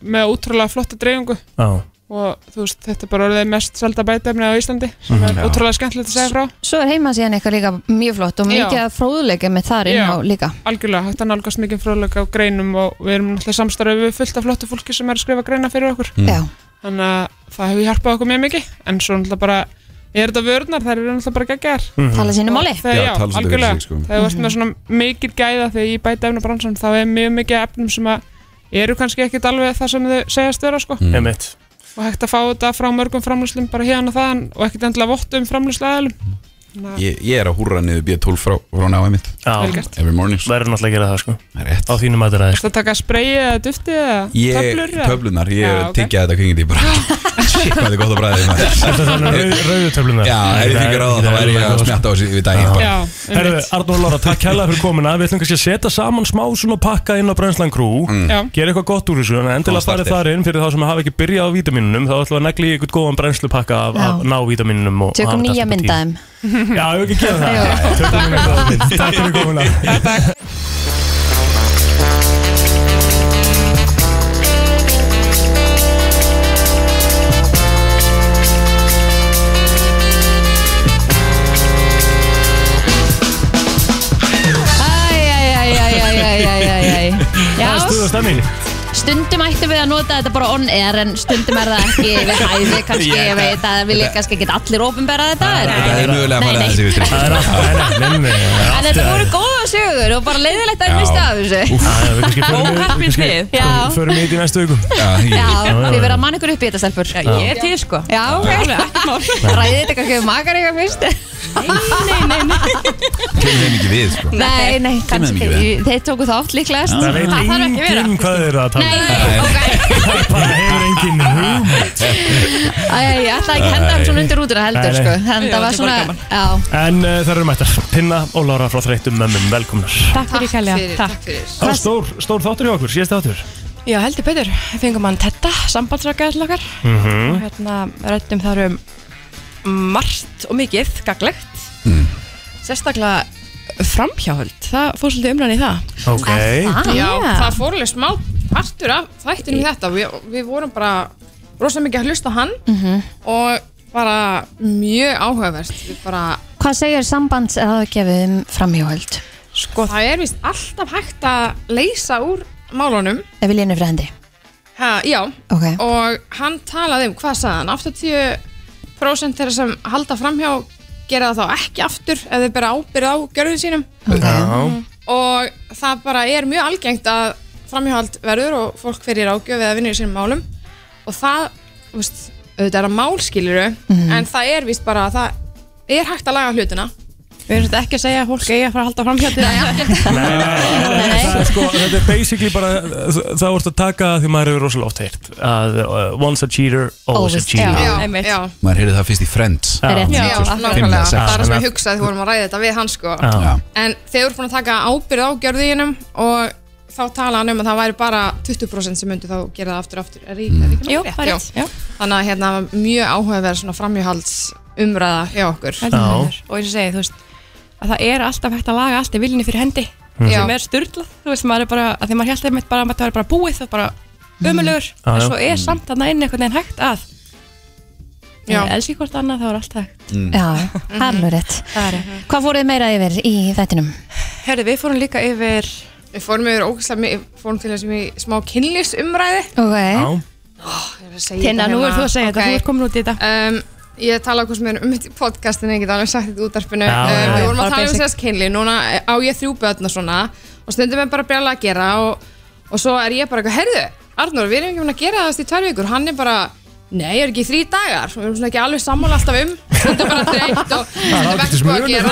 með útrúlega flotta dreifingu
Og,
og þú veist, þetta er bara orðið mest selda bætefni á Íslandi sem
Mhm.
er
Já.
útrúlega skemmtilegt að segja frá
Svo er heima síðan eitthvað líka mjög flott og mikið
Já.
að fróðleika með þar inn á
Já.
líka
algjörlega, hægt að nálgast mikið fróðleika á greinum og við erum náttúrulega samstarfið við fullt af flottu fólki sem er að skrifa greina fyrir okkur
Mm. Já.
þannig að það hefur hjálpað okkur mjög mikið en svo náttúrulega bara, er þetta vörðnar þær eru náttúrulega bara geggar
Mhm. Tala sínu máli.
þegar,
Já,
já,
tala svolítið fyrir
algjörlega,
sig, sko.
þegar þú ert með
Mhm.
svona mikil gæða þegar ég bæta efna bransan þá er mjög mikið af efnum sem að eru kannski ekkit alveg það sem þau segjast vera sko.
Mm. Einmitt.
og hægt að fá þetta frá mörgum framlýslum bara hérna og þaðan og ekkit endilega um vottum framlýslaðalum
Ég, ég er að húrra niður B12 frá, frá náðu mitt
Já.
Vel gert.
Every morning
Verður náttúrulega að gera það sko
Það er rétt
Á þínum sko. að þetta er
Það taka spreyið eða duftið eða
Ég,
töflur eða?
töflunar, ég
Já,
ja,
ok.
tyggja þetta kringi því bara Shit, hvað þetta er gott að bræða
Þetta er þannig rauð- rauðu töflunar
Já, ef ég fikk ráða þá væri ég að smjatta á þessu við daginn bara.
Já,
Herðu, Arnur og Lóra, takk hella fyrir komuna Við ætlum kannski að setja saman smá svona pakka inn á Brensland Crew
Mm.
Já.
Gera eitthvað gott úr þessu En endilega
Góða startið.
farið þar inn fyrir þá sem hafa ekki byrjað á vítaminunum Þá ætlum við að negli í eitthvað góðan brenslu pakka af, af ná vítaminunum
Tökum nýja myndaðum
Já, ef við ekki gera það Tökum nýja myndaðum Takk fyrir komuna
Æjæjæjæjæjæjæjæjæjæj Já,
Það er stuð og stemning
stundum ættum við að nota þetta bara on air en stundum er það ekki við hæði kannski,
Ég-
ég veit að við líka kannski ekki allir ofinbera þetta en,
Það er mögulega að fara þessi við stríð.
Það er alltaf Nei, nei, nei, nei
en þetta voru góða sögur og bara leiðilegt að ég
Já.
misti af þessu
Úff,
Það er kannski förum við-
Óheppin
kannski
þið.
Já.
Förum við í næstu vikum
já, ég-
Já,
já.
þið verða að manna ykkur upp í þetta stelpur Já,
Ég er til sko
ok Ræðið þetta kannski við makar eitthvað fyrst
Nei, nei, nei
Kemur þeim ekki við sko.
Nei, nei,
Kemur þeim
kannski
ekki við.
ég- Þeir tóku þátt líklegast
Það veit
Það þarf ekki að vera
enginn hvað þeir eru að tala um.
Nei, ok
Það hefur enginn hugmynd
Æ, ég ætlaði ekki að henda hann svona undir rútuna heldur
Nei, nei.
sko. En það var
Já, þetta var
svona
gaman.
já,
En uh, það eru mættar Pinna og Lára frá þreytum mömmum, velkomnar
Takk fyrir Kalja Takk
Það var stór, stór þáttur hjá okkur, síðast þáttur
Já, heldur Petur, við fengum hann Tetta, sambandsrakaðar til okkar
mm -hmm.
og hérna rættum þar um margt og mikið, gaglegt sérstaklega framhjáhöld, það fór svolítið umræðan í það
Ok
það?
Já,
Já.
það fór alveg smá partur af þættinum í þetta við, við vorum bara rosa mikið að hlusta á hann og bara mjög áhugaverst Við bara,
Hvað segir sambands um framhjóhöld?
sko, það er vist alltaf hægt að leysa úr málunum
Ef við lénum frændi
ha, Já,
Ok,
og hann talaði um, hvað sagði hann 80% þeirra sem halda framhjá gera það þá ekki aftur ef þeir bera ábyrð á gjörðum sínum
Já,
og það bara er mjög algengt að framhjáhald verður og fólk fyrir ágjöf eða vinnur í sínum málum og það, þú veist, auðvitað er að mál skiluru
Mhm.
en það er víst bara að það er hægt að laga hlutina
Við erum svolítið ekki að segja að fólk eigi að fara að halda framhjáhald
það er sko, þetta er basically bara uh, það vort að taka því maður hefur rosalega oft heyrt að uh, once a cheater, always a
Always,
cheater
já.
já,
einmitt.
já,
Maður heyrði það fyrst í Friends
Já.
rétt
já,
já.
nákvæmlega
sex.
það er það sem
Þannig
ég hugsaði þegar við vorum að ræða þetta við hann sko
Já.
Já.
en þeir eru búin að taka ábyrð á gjörðinum og
þá tala hann um að það væri bara 20% sem myndi þá gera það aftur og aftur er, ég- er ekki
Jú,
alveg rétt?
það er rétt, já.
þannig að hérna var mjög áhugaverð svona framhjóhalds umræða hjá okkur
Heldur betur. og eins og segi, þú veist að það er alltaf hægt að laga allt í viljunni fyrir hendi
Mhm.
sem
Já.
er styrlað, þú veist, maður er bara að því maður held einmitt bara að þetta var bara búið og bara ömulegur,
Mhm. Já, Mhm.
en
já.
svo er samt þarna inn einhvern veginn hægt að
Já.
ég elski hvort annað, þá er allt hægt
Já, það er alveg rétt
Það er
Hvað fóruð þið meira yfir í þættinum?
Herði, við fórum líka yfir
Við fórum yfir ógæslega mikið, við fórum til þessum í smá kynlýsumræði
Ok
Tinna,
hérna.
nú ert þú að segja þetta, hérna. þú ert komin út í þetta
um, Ég tala okkur sem er um mitt í podcastinu, ég get alveg sagt þetta í útarpinu
Já, já,
um,
já,
Við vorum
bara
að tala um
basic.
sérst kynli, núna á ég þrjú börn og svona Og stundum er bara brjála að gera og, og svo er ég bara eitthvað, herðu, Arnór, við erum ekki búin að gera það í tvær vikur Hann er bara, nei, ég er ekki í þrý dagar Við erum svona ekki alveg sammála alltaf um Stundum bara þreytt og
Það er ágættis
sko að
munur
gera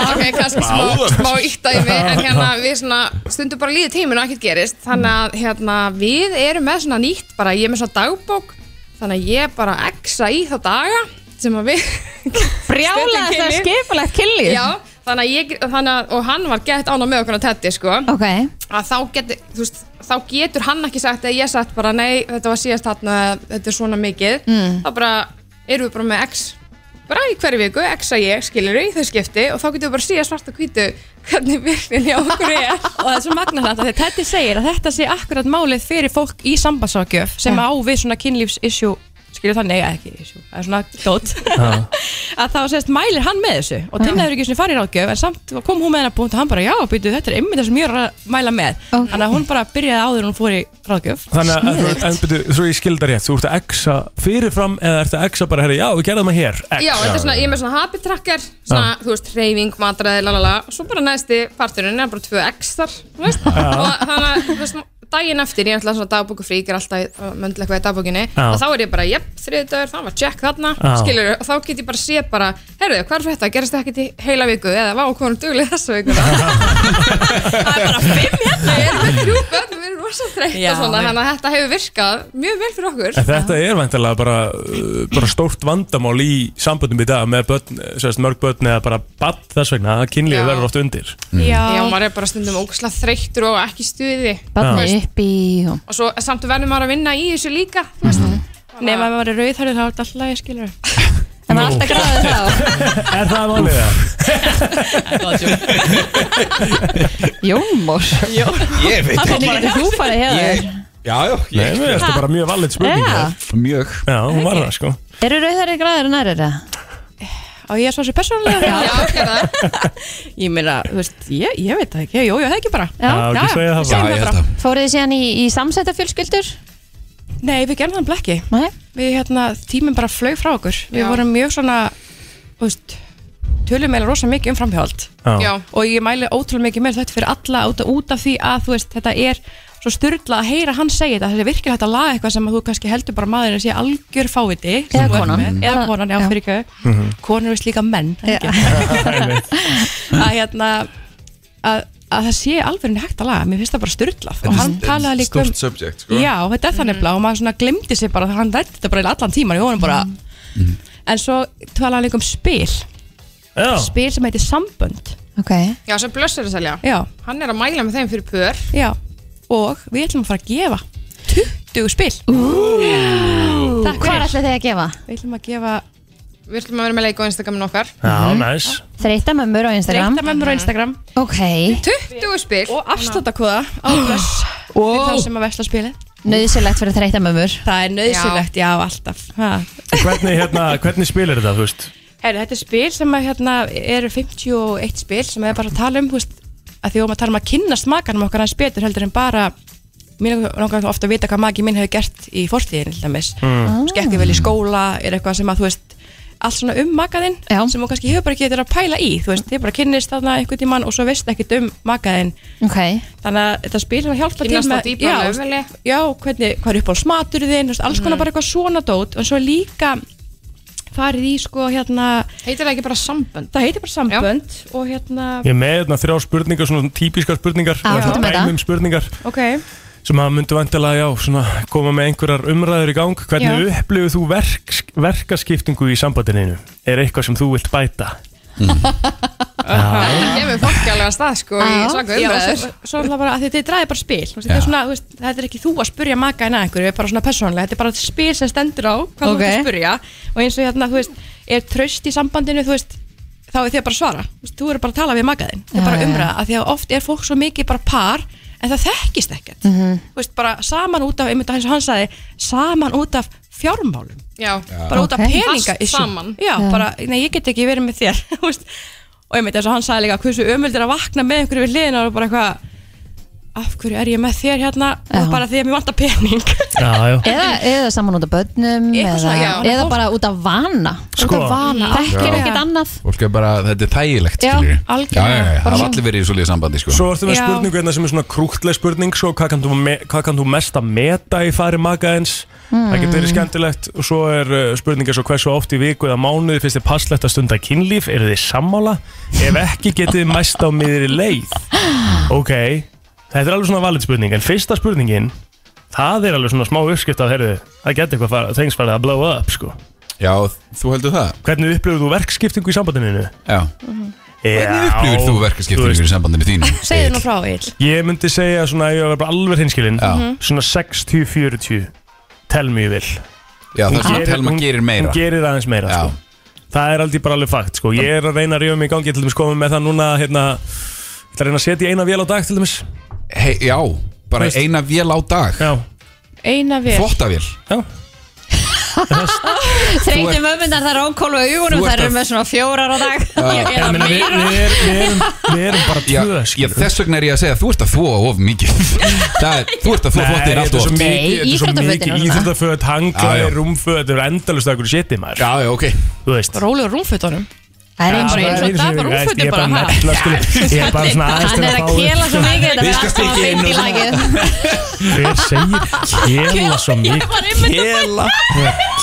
ok, kannski smá,
Báðar.
smá ítta í mig en hérna við svona stundum bara líði tíminn og ekkert gerist þannig að hérna við erum með svona nýtt bara ég er með svona dagbók þannig að ég bara exa í þá daga sem að við
Brjálaðast það
Stundum kynlíf.
skipulegt kynlíf
já, þannig að ég þannig að, og hann var gett ána með okkur á tetti sko
Ok,
að þá getur, þú veist, þá getur hann ekki sagt að ég sagt bara nei, þetta var síðast hann þetta er svona mikið
Mm.
þá bara erum við bara með x bara í hverju viku, x að ég skilur í þau skipti og þá getum við bara síða svart og hvítu hvernig virknin hjá okkur er
og það er svo magna þetta þegar Teddy segir að þetta sé akkurat málið fyrir fólk í sambandságjöf sem á við svona kynlífsissjú skilur þannig, eða ekki issue, það er svona dót að þá sést mælir hann með þessu og Tinna hefur ekki svona farið ráðgjöf en samt kom hún með hennar búnt og hann bara já, býtu, þetta er einmitt það sem ég er að mæla með þannig að hún bara byrjaði áður en hún fór í ráðgjöf
Þannig að, þú- en byrju, svo ég skilda rétt, þú ert að exa fyrirfram eða ert að exa bara, herri, já, við gerðum það hér, ex.
Já, þetta er svona, ég er með svona habit tracker
Ah.
svona, þú veist, reyfing, matræði, lalala og svo bara næsti parturinn er bara 2x þar, þú veist, og þannig að þú veist, daginn eftir, ég er alltaf svona dagbókufrík er alltaf að möndla eitthvað í dagbókinni
Já.
og þá er ég bara, jep, þriðdagur, það var check þarna
Já.
skilur, og þá get ég bara sé bara herruðu, hvað er þetta, gerist það ekkert í heila viku eða vá, hvað er duglið þessa viku það er bara fimm hérna ég er með þrjú börn, við erum rosa þreytt
Já.
og svona, þannig að þetta hefur virkað mjög vel fyrir okkur
En þetta er vantilega bara, uh, bara stórt vandamál í samböndum í dag með börn, sérst, mörg börn eða bara bann þess vegna að kynlífi
Já.
verður oft undir.
Já, maður er bara stundum ógslag þreyttur og ekki í stuði
barni
Já.
upp í og-
og svo eh, samt verður maður að vinna í þessu líka þú veist.
Mhm. nema að maður er rauðhærður þá er þetta alltaf ég skilur
Það var alltaf gráðið þá
Er það málið það?
Jómor
Ég veit ekki
Hvernig getur þú farið
Ég-
hefur?
Já, já,
Nei,
ég
mér finnst þetta bara mjög valið spurning.
Já.
Yeah.
Mjög
Já, hún var það, sko.
Eru rauðari gráður en aðrir það?
og ég er svo sem persónulega
Já, gerða það.
ég meina, þú veist, ég, ég veit það ekki, jú, jú, það ekki bara
Já, ekki segja það
við
Já,
segjum
ég held
bara.
það
Fóruð þið síðan í, í samsetta fjölskyldur?
Nei, við gerðum það blekki
Nei
við hérna, tíminn bara flög frá okkur við
Já.
vorum mjög svona þú veist, tölum meila rosa mikið um framhjáld
Já,
og ég mæli ótrúlega mikið með þetta fyrir alla út, út af því að þú veist, þetta er svo styrla að heyra hann segja þetta þetta er virkilega hægt að laga eitthvað sem að þú kannski heldur bara maðurinn sé algjör fáviti sem þú ert
konan.
með. eða
Bara-
konan, já,
já.
fyrir ekki konur veist líka menn ekki. að hérna að, að það sé alveg hægt að laga mér finnst það bara styrlað og hann talaði líka um
Stórt subject, sko
Já, þetta er þannig blá og maður svona glemdi sér bara hann rætti þetta bara í allan tíman í honum bara En svo talaði hann líka um spil
Já,
Spil sem heitir sambönd
Ok
já sem blössur að selja
Já,
Hann er að mæla með þeim fyrir pör
já Og við ætlum að fara að gefa 20 spil
Hvað
Takk fyrir
ætlaði þið að gefa?
Við ætlum að gefa
Við ætlum að vera með leik á Instagramin okkar
já, næs.
Þreita mömmur á Instagram
reynda mömmur á Instagram
Ok
20 spil
Og afslutakoða á blöss Fyrir þá sem að vesla spilið
Nauðsynlegt fyrir þreita mömmur
Það er nöðsynlegt, já, alltaf ha.
Hvernig, hérna, hvernig spilir þetta, þú veist?
Herri, þetta er spil sem að hérna eru 51 spil sem er bara að tala um, þú veist, að því vorum að tala um að kynnast makanum okkar hans betur heldur en bara mér langar ofta að vita hvað maki minn hefur gert í fortíðin, til dæmis.
Hmm.
Mm. Skekki vel í skóla, er eitthvað sem að, þú veist, allt svona um makaðinn
Já.
sem þú kannski hefur bara ekki þetta að pæla í, þú veist, þið bara kynnist þarna einhvern tímann og svo veist ekkert um makaðinn.
Ok
Þannig að þetta spil sem að hjálpa
Kynnast á
til með...
dýpra
Já,
leveli.
Já, hvernig, hvað er upp á smaturðin, þú veist, alls
Hmm.
konar bara eitthvað svona dót og svo er líka farið í sko hérna
Heitir það ekki bara sambönd?
Það heitir bara sambönd og hérna
Ég er með hérna, þrjá spurningar, svona típiskar spurningar,
Já,
eða
þetta með
dæmi um spurningar
Ok,
sem að myndu vantilega, já, svona, koma með einhverjar umræður í gang. Hvernig
Já.
upplifir þú verk, verkaskiptingu í sambandininu? Er eitthvað sem þú vilt bæta?
Það kemur fólk alveg að stað sko í svaka
Já, og
umræður
svo- svo er það bara að þetta dræði bara spil þú veist, þetta er
Já.
svona, þú veist, þetta er ekki þú að spurja maka en að einhverju, þetta er bara svona persónlega þetta er bara spil sem stendur á hvað
Ok.
þú ert að spurja og eins og hérna, þú veist, er tröst í sambandinu þú veist, þá er þið bara að svara þú, veist, þú eru bara að tala við makaðinn, þið
Já,
er bara
já,
umræða af því að oft er fólk svo mikið bara par en það þekkist ekkert
Mhm.
þú veist, bara saman út af, einmitt að eins og hann sagði saman út af fjármálum
Já,
bara út af
Ok.
peninga
Fast saman.
já,
Já.
bara, nei, ég get ekki verið með þér þú veist. og ég veit eins og hann sagði líka hversu ömöld er að vakna með einhverju við hliðina og bara eitthvað af hverju er ég með þér hérna
Já.
og bara því að mér vantar pening
Já, já
Eða, eða saman út af börnum
Eitthvað
eða,
svona, já.
eða bara út af vana
Sko.
út af vana, þekkir
Já.
ekkert annað
Fólk er bara, þetta er þægilegt
Já,
skilurðu.
algjörlega.
Já, já, já, það
Bara
var
svona.
allir verið í svolítið sambandi sko.
Svo ertu með
Já.
spurningu hérna sem er svona krútleg spurning sko, hvað, kann þú me, hvað kann þú mest að meta í fari makaðins Það getur verið skemmtilegt og svo er uh, spurninga svo hversu oft í viku eða mánuði finnst þið passlegt að stunda kynlíf eru þið sammála? Ef ekki getið þið mæst á miðri leið Ok, þetta er alveg svona valid spurning en fyrsta spurningin það er alveg svona smá uppskipt af herðu það getur eitthvað fara, þengs farið að blow up sko.
Já, þú heldur það?
Hvernig upplifur þú verkskiptingu í sambandinu?
Já Hvernig upplifir þú verkaskiptingu í sambandinu þínu?
segðu nú frá Egil
Ég myndi segja svona, ef ég var bara alveg hinskilinn
Já.
Svona 60-40 Tell me you will
Já, það
Hún
er svona
gerir-
að Telma
hún-
gerir meira
Hún gerir aðeins meira
Já.
sko. Það er aldrei bara alveg fakt sko. Ég er að reyna að rífa mig í gangi Til dæmis komum með það núna hérna, Ég ætla að reyna að setja í eina vél á dag til dæmis
Hei, já, bara
Veist-
eina vél á dag
Já,
eina vel
Þvottavél
já
Þrengjum öfundar þar ákólu augunum
Þú ert
þær eru
að-
með svona fjórar á dag
Ég meina, við, við, er, við, erum, við erum bara
Já,
tvö
já,
skilur.
þess vegna er ég að segja Þú ert að þvóa of mikið Það er, Þú ert að þvóa
Nei,
þvottir allt
þetta er
of
svo
oft
mikið-
Nei,
þetta er svo
íþróttafötin
mikið
og svona.
Íþróttaföt,
Já,
hanglaði,
já.
rúmföt Þetta er endalust að ykkur shitið maður
Já, já, ok
Þú veist
rólu og rúmfötunum
Það er
Já,
eins og
bara eins
eins
og- það, bara
einu sinni,
útfötin
ég er bara
bara, ha?
negla, skilur. Ég er bara svona aðeins
Hann
til
er
að
að
fá
kela svo mikið þetta
Við
er
skal
allt saman
stikka inn
beint í
og-
lagið
Hver segir kela svo mikið?
Kela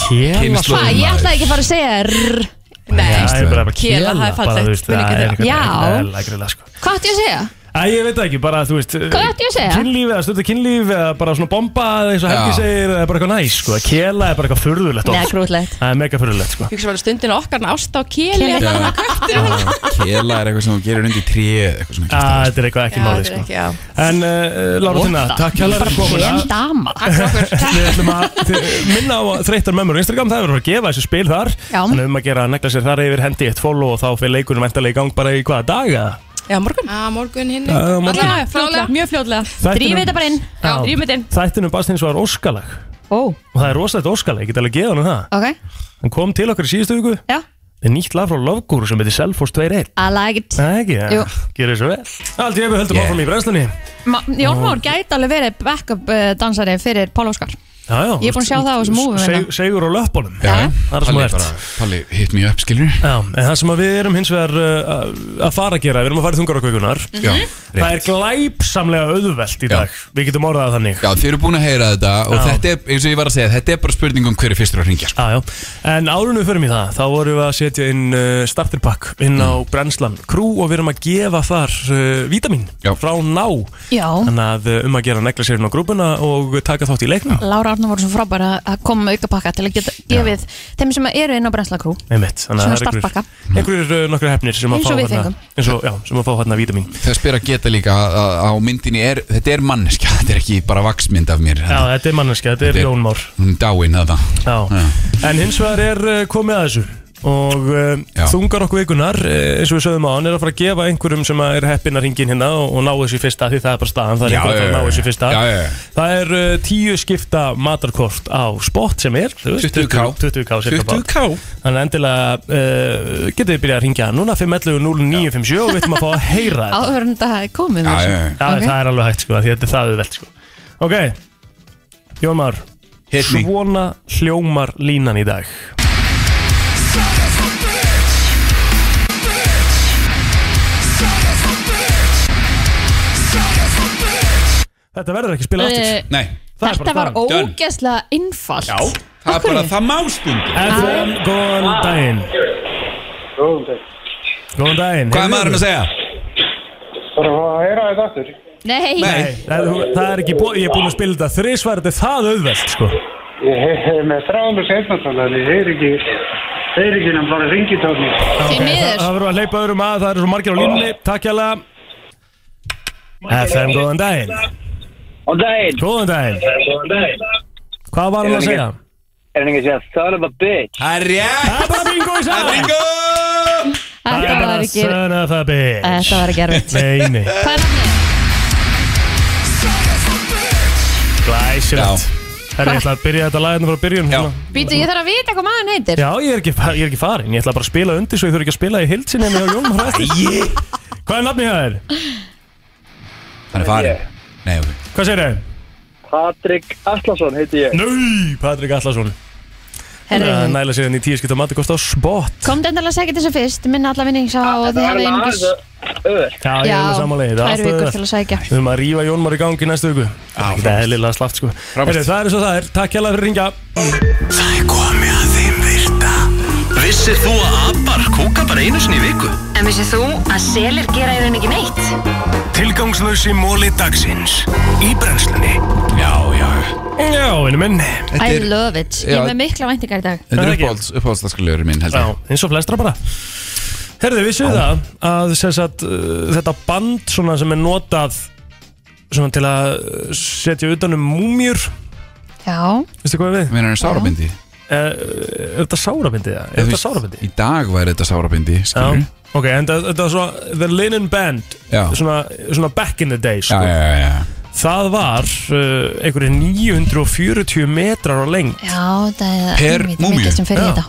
Kela
Kynslóð.
svo
Hvað, ég ætlaði ekki að fara að segja rrr.
nei,
Það er bara bara
Kela,
kela
það er
bara,
fallegt,
þú veist, það
mun ekki
er
þeirra.
einhvern
Já.
veginn eðlilega, greinilega, sko.
Hvað ætti ég að segja?
Æ, ég veit það ekki, bara þú veist
Hvað ætti ég að segja?
Kynlíf eða stölda kynlíf eða bara svona bomba eða eins og Helgi
Já.
segir eða bara eitthvað næs sko Kela er bara eitthvað furðulegt
Nei,
oft.
grútlegt
Það er mega furðulegt sko
ég hugsa bara stundin okkar ást á keli
Keli.
eða þannig að
Kela er eitthvað sem þú gerir undir trí Eitthvað svona
Æ, Þetta er eitthvað ekki máli sko
já.
En uh, Lára Tina, takk hjá fyrir komuna
En dama
Við ætlum að þið- minna á að þreytar mömmur á Instagram, það er verið að gefa þessu spil þar
Já.
Þannig um að gera að negla sér þar yfir hendi eitt follow og þá fyrir leikurinn væntanlega í gang bara í hvaða daga
já, morgun
Á morgun hinn
Já, á morgun.
já, já, fljótlega, mjög fljótlega
Drífið þetta bara inn
drífum þetta inn.
Þættinum Bastins var óskalag
Ó,
og það er rosalegt óskalag, ég get alveg geða hann það
ok,
Hann kom til okkar í síðustu viku
já
Það er nýtt lag frá Lofgúru sem heitir Selfos 2.1
I like it
Það er ekki,
Jú.
það gerir svo vel Allt ég við höldum
Yeah.
áfram í brennslunni
Ma- Jón Már gæti alveg verið backup eh, dansari fyrir Pál Óskar
Já, já,
Ég er búin að sjá það á þessu múfum hérna.
Seg- Segur á löppunum
Já,
Það er það sem
Palli
þú ert.
bara- Palli hitt mjög upp, skilur
Mhm.
Já, en það sem að við erum hins vegar uh, að- að fara að gera, við erum að fara í þungarokvökunar
Já,
Það
rétt
er glæpsamlega auðvelt í
Já.
dag Við getum orðað það þannig
Já, þið eru búin að heyra þetta og
Já.
þetta er, eins og ég var að segja, þetta er bara spurning um hver er fyrstur að ringja sko.
Já, já. En árunum við förum í það, þá vorum við að setja inn uh, starterpakk inn á
Mm.
brennslan Krú og við erum að gefa þar uh, vítamin
Já.
frá ná
Já,
Þannig að uh, um að gera negla sérinn á grúpuna og taka þátt í leiknum
Lára Arna voru svo frábær að- að koma með aukapakka til að geta gefið þeim sem eru inn á brennslakrú
Einmitt, þannig
Svona
að það er einhverjir-
startpakka.
einhverjir uh, nokkru hefnir sem að
Eins
fá
og við
hérna
fengum.
eins og, já, sem að fá hérna vítamin
Þess ber að geta líka að- að á myndinni er, þetta er manneskja, þetta er ekki bara vaksmynd af mér
Já, þetta er manneska, þetta er
Þetta er-
Jón Már
Hún er dáin þetta
Já.
Já.
En hins vegar er uh, komið að þessu og uh,
Já.
þungar okkur vikunar uh, eins og við sögum á hann er að fara að gefa einhverjum sem að er heppin að ringin hérna og, og ná þessu í fyrsta því það er bara staðan, það er
Já,
einhverjum
já,
að fara
já.
að ná þessu í fyrsta
Já, já, já.
Það er uh, tíu skipta matarkort á spot sem er þú veist,
20K.
20k cirka bara.
20K?
Þannig að endilega uh, getið þið byrjað að ringja núna 511 0957 og við ætlum að fá að heyra þetta
áður en þetta hafi komið
Já,
mér
já,
svo.
já.
Já,
Ok.
það er alveg hægt sko, af því þetta er það við velt sko Ok, Jón Már
Hit me.
Svona hljómar línan í dag Þetta verður ekki spila aftur
Eh,
Nei,
Það er bara
Þetta var
það.
Done.
ógeðslega innfalt
já, það er bara, það má stundum
FM, góðan
Ah.
daginn Góðan daginn
Hvað er maðurinn að segja?
Nei,
Nei,
Nei, það er- það er ekki búið, ég er búin að spila þetta þrísvar, þetta er það auðvelt sko
Ég hef með þráðum og setna þannig að ég er ekki segir ekki nefn bara ringitóknir.
Því miður. Það verður að hleypa öðrum að, það eru svo margir á línni. Takk hjá FM, góðan daginn.
Góðan daginn.
Góðan daginn.
Góðan daginn.
Hvað var hann að segja?
Er hann ekki að segja son of a bitch?
Það er rétt.
Það er bara bingo í
Það er bingo!
Þetta var ekki
Son of a bitch.
Þetta var ekki erfitt.
Nei, nei.
Hvað er nafnið?
Glæsilegt. Herri, ég ætla að byrja þetta laginu frá byrjun. Já.
Býtu, ég þarf að vita hvað maður heitir
Já, ég er ekki, ég er ekki farin. Ég ætla bara að spila undir svo ég þurfi ekki að spila í hildsin en ég á Jónum hrættir. Hvað er nafnið það er?
Hann er farin. Nei, ok.
Hvað segir þau?
Patrik Atlasson heiti ég.
Nei, Patrik Allarsson.
Herri.
Að Næla sér hann í tíu skipta matikort á spot.
Komdu endalega að segja þessu fyrst Minna alla vinningsa og þið hafið einungis
Já, ég er
Já,
alveg samanlegið.
tvær vikur til að sækja.
Við höfum að rífa Jónmar í gangi næstu viku. Það er ekki eðlilega slaft, sko. Heyrðu, það er svo það er. Takk hjálpa fyrir að ringja.
Það er komið að þeim virta Vissir þú að abar kúka bara einu sinni í viku?
En vissið þú að selir gera í rauninni ekki neitt?
Tilgangslösi móli dagsins Í brennslunni Já, já
Já, vinnu minn.
I love it Ég
Já.
er með mikla væntingar í dag
Þetta
Er það
er
ekki?
uppáhalds, uppáhaldsdagskulegur minn, held ég.
Já, eins og flestra bara Herðu, vissu það að sem sagt, uh, þetta band svona sem er notað svona til að uh, setja utan um múmjur
Já
Veistu hvað er við?
Meinar hann sárabindi?
Er, er þetta sárabindi? eða? Er þetta sárabindi?
Í dag væri þetta sárabindi, skilur.
Ok, en þetta þetta var svona The Linen Band
Mhm. Já.
svona, sko- svona back in the day sko.
Já, já, já.
Það var uh, einhverju 940 metrar á lengd
Já, það er
Per
einmitt
múmíu.
mikið sem fyrir
Já.
þetta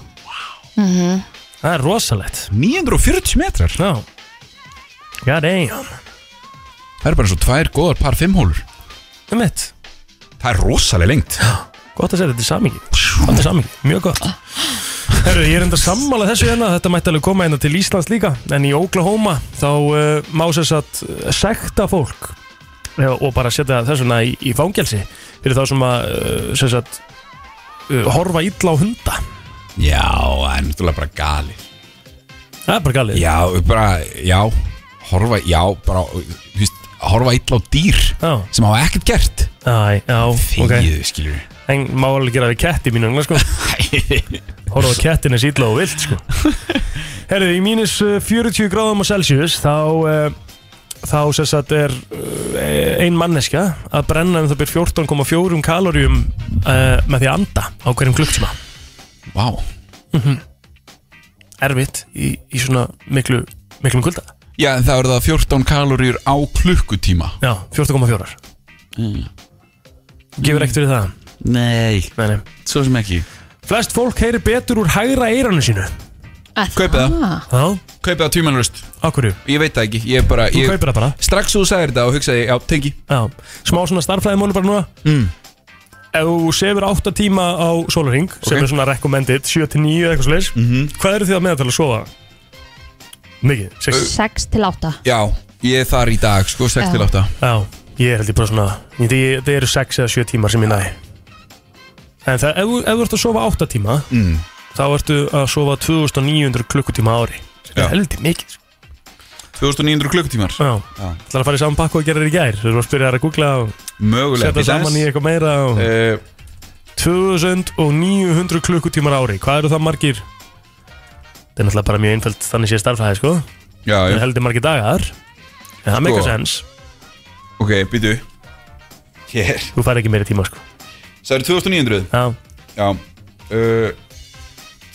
Mhm.
Það er rosalegt
940 metrar?
Já God damn
Það eru bara svo tvær góðar par fimmhólur.
Það mitt
Það er rosalega lengt.
Gott að segja þetta í samingi Þetta er samingi, mjög gott Herru, ég er enda sammála þessu hérna Þetta mætti alveg koma hérna til Íslands líka En í Oklahoma þá uh, má sér satt sekta fólk eh, og bara setja þessuna í, í fangelsi fyrir þá sem að uh, sem sagt, uh, horfa illa á hunda
Já, það er náttúrulega bara galið.
Það er bara galið
Já, bara, já, horfa, já, bara, þú veist, horfa illa á dýr
já.
sem hafa ekkert gert.
Æ, já, ok
Þegið, skilur.
En má alveg gera við ketti mínu engla, sko Horfa á kettinu sýtla og vilt, sko Herðu, í mínus uh, 40 gráðum á Celsius þá uh, þá sess að er uh, ein manneskja að brenna um það byrð 14,4 kaloríum uh, með því að anda á hverjum klukksma
Vá wow.
Erfitt í, í svona miklu miklum kulda
Já, en það eru það 14 kaloríur á klukkutíma.
Já, 14,4
Mm.
Gefur ekkert fyrir það
Nei.
Nei, nei.
Svo sem ekki.
Flest fólk heyri betur úr hægra eiranu sínu
Kaupið það.
Ah.
Já
Kaupið það tvímælurist.
Akkurju?
Ég veit það ekki, ég er bara...
Þú
ég,
kaupir það bara?
Strax þú sagðir þetta og hugsaði, já, tengi.
Já, smá svona starffræðimólu bara núna
mm.
Ef þú sefur 8 tíma á solaring sem
Ok. Mhm.
er svona recommended, 7-9 eða eitthvað slags Hvað eru þið að meðal að sofa? Mikið, 6
6 til 8
Já, ég er þar í dag, sko, 6
Já.
til 8.
Já, ég er held ég bara svona ég- ég- Það eru 6 eða 7 tímar sem ég næ En það, ef, þú- ef þú ert að sofa 8 tíma
Mm.
þá ertu að sofa 2900 klukkutíma á ári Það er held ég mikið sko.
2900 klukkutímar.
Já,
Já.
ætlar að fara í saman pakku og gera þér í gær Þú erum að spyrja þær að googla og
Mögulega.
setja saman í eitthvað meira og...
Uh,
2900 klukkutímar á ári Hvað eru það margir? Það er náttúrulega bara mjög einföld þannig sé starfæði sko
já,
Það
já.
er heldur margir dagar En það
Sko.
meikar sens
Ok, býtu. Hér.
Þú fær ekki meiri tíma sko
Það eru 2900.
Já,
Já uh,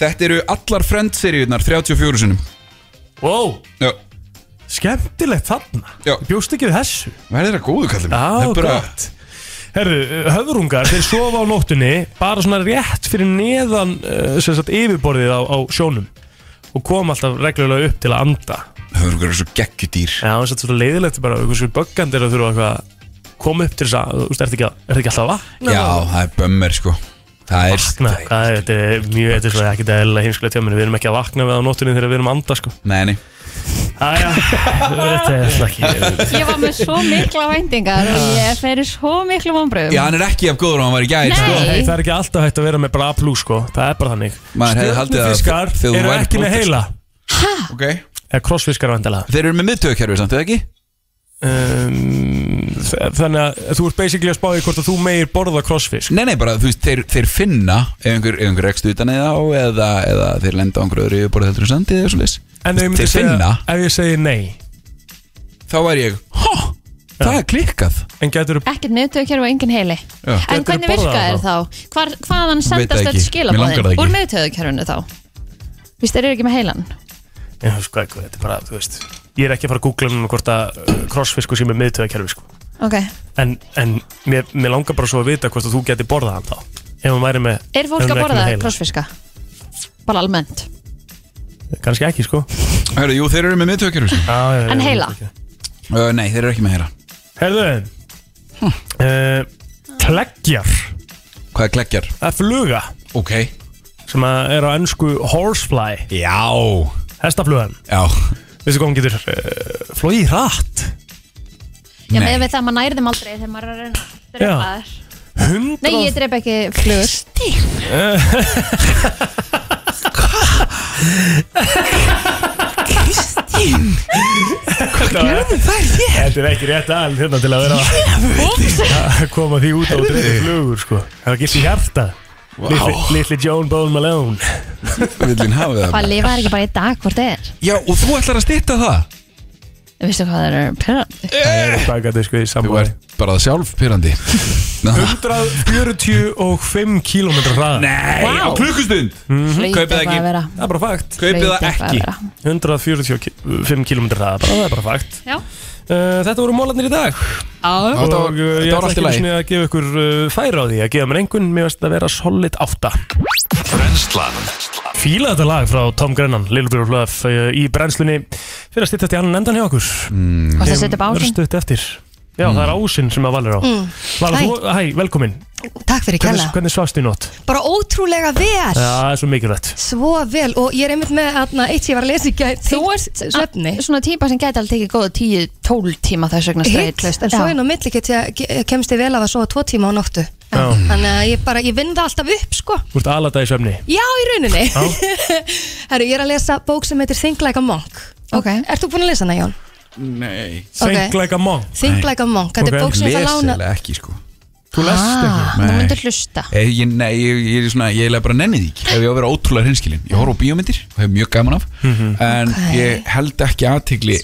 Þetta eru allar Friends-seríunar 34 sinum
Wow
Já,
skemmtilegt þarna
já
Ég Bjóst ekki við þessu
Hvað er þetta góðu kallum?
Já, gott Herðu, höfðrungar, þeir sofa á nóttunni bara svona rétt fyrir neðan uh, sem sagt yfirborðið á, á sjónum og koma alltaf reglulega upp til að anda
Höfðrungar eru svo geggjudýr
Já, það er svolítið leiðilegt bara einhversu böggandi er að þurfa eitthvað að koma upp til þess að, þú veist, er þetta ekki alltaf vatna?
Já, það er bömmir sko Það er
Vakna, hvað er þetta? er Mjög, þetta er svona ekki dæla heimskulegt hjá mér Við erum ekki að vakna við á nóttunni þegar við erum að anda, sko
Nei, nei
Æja, þetta er svona ekki
Ég var með svo mikla væntingar og ég fyrir svo miklu vonbröðum
Ah. Já, hann er ekki af góður og hann var í gæð sko.
Nei.
Hey, það er ekki alltaf hægt að vera með bara A+, sko Það er bara þannig
Maður hefði haldið að
Stjörnufiskar
þegar þú
eru
værir
ekki með
blóðfisk.
heila
okay.
Eða krossfiskar vandilega
Þeir eru með miðtöðkerfi samt, eða ekki?
um, þ- Þannig að þú ert basically að spáði hvort að þú meir borða crossfisk
Nei, nei, bara þú veist, þeir, þeir finna ef einhver, ef einhver rekst utan eða á eða, eða þeir lenda á einhverju öðru yfirborðið heldur en sandi eða svoleiðis.
En ef ég
Þeir,
myndi
þeir
segja-
finna,
Ef ég segi nei
þá væri ég, hó, það er klikkað
En getur
Ekkert miðtöðkerfi og engin heili
Já.
En
Gætirðu
hvernig
borðað
virka er
það?
þá? Hvar, hvaðan
það
sendast
ekki.
öll
Mér langar það
skilabóðin?
ekki.
Úr miðtöðkerfinu þá? Vist, þeir eru ekki með heilan
Ég, sko, ekki, þetta er bara, þú veist Ég er ekki að fara að googla núna hvort að uh, crossfisku sé með miðtöðakerfi sko.
Ok
En, en mér, mér langar bara svo að vita hvort að þú geti borðað hann þá Ef hann væri með
Er
ef
fólk
hann
að
er ekki
borða
með heila.
krossfiska? Bara almennt
Kannski ekki sko
Hörru, jú, þeir eru með miðtökjur
ah,
En heila?
Uh, nei, þeir eru ekki með heila
Herðu
Hm.
uh, Kleggjar
Hvað er kleggjar?
Það er fluga
Ok
Sem að er á ennsku horsefly
Já
Hestaflugan
Já
Veistu hvað hún getur uh, flogið hratt
Já, með við það maður nærðum aldrei þegar maður er að reyna að
Já.
drepa þær.
Hund
Nei, ég drepa ekki flugur
Kristín
Hvað gerðu
þær hér?
Þetta er ekki rétt al hérna til að vera að koma því út á og drepa flugur sko Það var gilt í hjarta
Vá.
Litli litli Joan Bone Malone
Villin hafi
Hvað lifa þær ekki bara í dag hvort þið er?
Já, og þú ætlar að stýtta það?
Vistu hvað það eru pyrrandi?
Mhm.
Það er bakandi sko í
Þú
sambandi
ert bara sjálf pyrrandi
145 km hraða
Nei,
Vá.
á klukkustund
Hlýtur
Kaupið
bara að
ekki
vera.
Það er bara fakt
Kaupið
Hlýtur
það
bara að
ekki
vera.
145 km hraða, bara, það er bara fakt
Já.
Uh, Þetta voru mólarnir í dag
Já.
þetta var-
Og
þetta
uh, ég
var
ætla
allt í
ekki
lagi.
sinni að gefa ykkur uh, færa á því Að gefa mér einhvern, mér veist að vera solid átta
Brennslan
Fíla þetta lag frá Tom Grennan, Little Bit of Love uh, í brennslunni fyrir að stýttast í annan endan hjá okkur
Mm.
Varstu að setja upp ásinn?
Örstuðt eftir Já, það er ásinn sem að valir á
Mm.
Vala,
Hæ.
þú, hæ, velkomin
Takk
Hvernig,
fyrir
sko-
kella
hvernig svafstu í nótt?
Bara ótrúlega vel
Já, það er svo mikilvægt
Svo vel og ég er einmitt með atna, eitt sem ég var að lesa í gæt Þú ert svefni
Svona típa sem gæti alveg tekið góða 10-12 tíma þess vegna streit
Hygglust, en svo inn á milli get ég, ég kemst ég vel af að sofa tvo tíma á nóttu
Já.
Þannig að ég bara, ég vinn það alltaf upp sko
Þú ert alada í svefni
Já, í rauninni
Já.
Herru, ég er að lesa bók sem heitir Think Like a Monk okay. Ert þú búin að lesa hana, Jón?
Nei
Think
like a monk
Think Like a Monk, þetta er bók sem ég ætla að lána
Lesilega ekki, sko
Þú lest
Ah,
Nei.
þú myndir hlusta
Eh, Ég, nei, ég, ég er svona, ég er bara nennið því ekki ef ég á að vera ótrúlega hinskilin, ég horf á bíómyndir og hef mjög gaman af en ég held ekki aðtegli í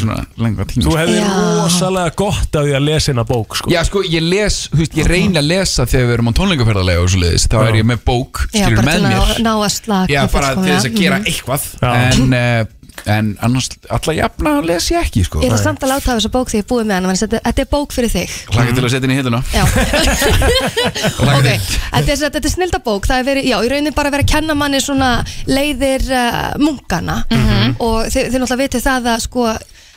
svona lengra tíma
Þú
sko.
hefði rosalega gott af því að lesa hérna bók sko.
Já, sko, ég les, þú veist, ég reyni að lesa þegar við erum á tónleikaferðarlega og svo leiðis þá er ég með bók,
Já,
skilur
bara
með
til
mér
að ná, ná að slaka
Já, bara til
fullkomlega.
þess að gera
Mhm.
eitthvað en, uh, en annars alla jafna les ég ekki, sko
Ég ætla samt að láta af þessa bók þegar ég er búið með hana þannig að þetta- Þetta er bók fyrir þig
Laka til að setja inn í hilluna
Já.
Laka
Ok,
til
þetta er, þetta er snildabók Það er verið, já, í raunin bara verið að kenna manni svona leiðir uh, munkana og þið, þið náttúrulega vitið það að sko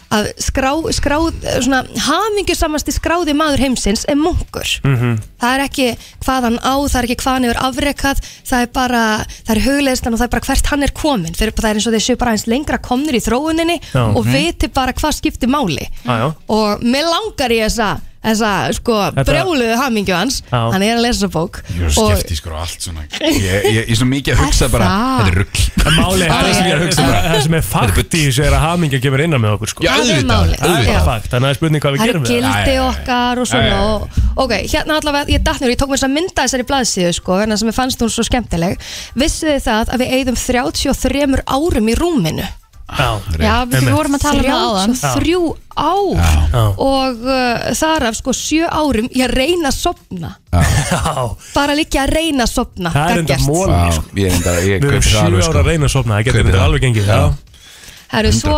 að skrá, skráð, eh, svona hamingjusamasti skráði maður heimsins er munkur það er ekki hvað hann á, það er ekki hvað hann hefur afrekað það er bara, það er hugleðislan og það er bara hvert hann er komin fyrir, það er eins og þeir séu bara eins lengra komnir í þróuninni
Já.
og
Mhm.
viti bara hvað skiptir máli
Já, já.
og mér langar í þessa þessa sko
Þetta-
brjáluðu hamingju hans
Já.
hann er að lesa þessa bók
Ég er
og
skeptískur og sko allt svona Ég ég- ég er svona mikið að hugsa bara
það?
Þetta er rugg
Máli,
Það er sem ég er að hugsa bara
það sem er fakt í þessu er að hamingja kemur innan með okkur sko.
Já, Það er auðvitað, málið.
Það er bara
Já.
fakt, þannig að það er spurning hvað við
það er
gerum við
gildi okkar og
Já,
svona
já, já.
og, ok, hérna allavega, ég datt nýr, ég tók mér þess að mynda þessari blaðsíðu sko, en það sem ég fannst hún svo skemmtileg vissuð þið það að við eigðum 33 árum í rúminu
Já,
Já, við
Einmitt.
vorum að tala um það áðan 33 ár
Já.
og uh, þar af sko 7 árum ég að reyna að sopna
Já.
bara líka að reyna að sopna
Það er enda
gaggjart.
móli
sko. Ég er enda, ég
Við erum
kaupi það alveg,
sjö
sko.
ára að reyna að sofna, það getur
Kaupi
þetta
það.
alveg gengið já.
Herru, svo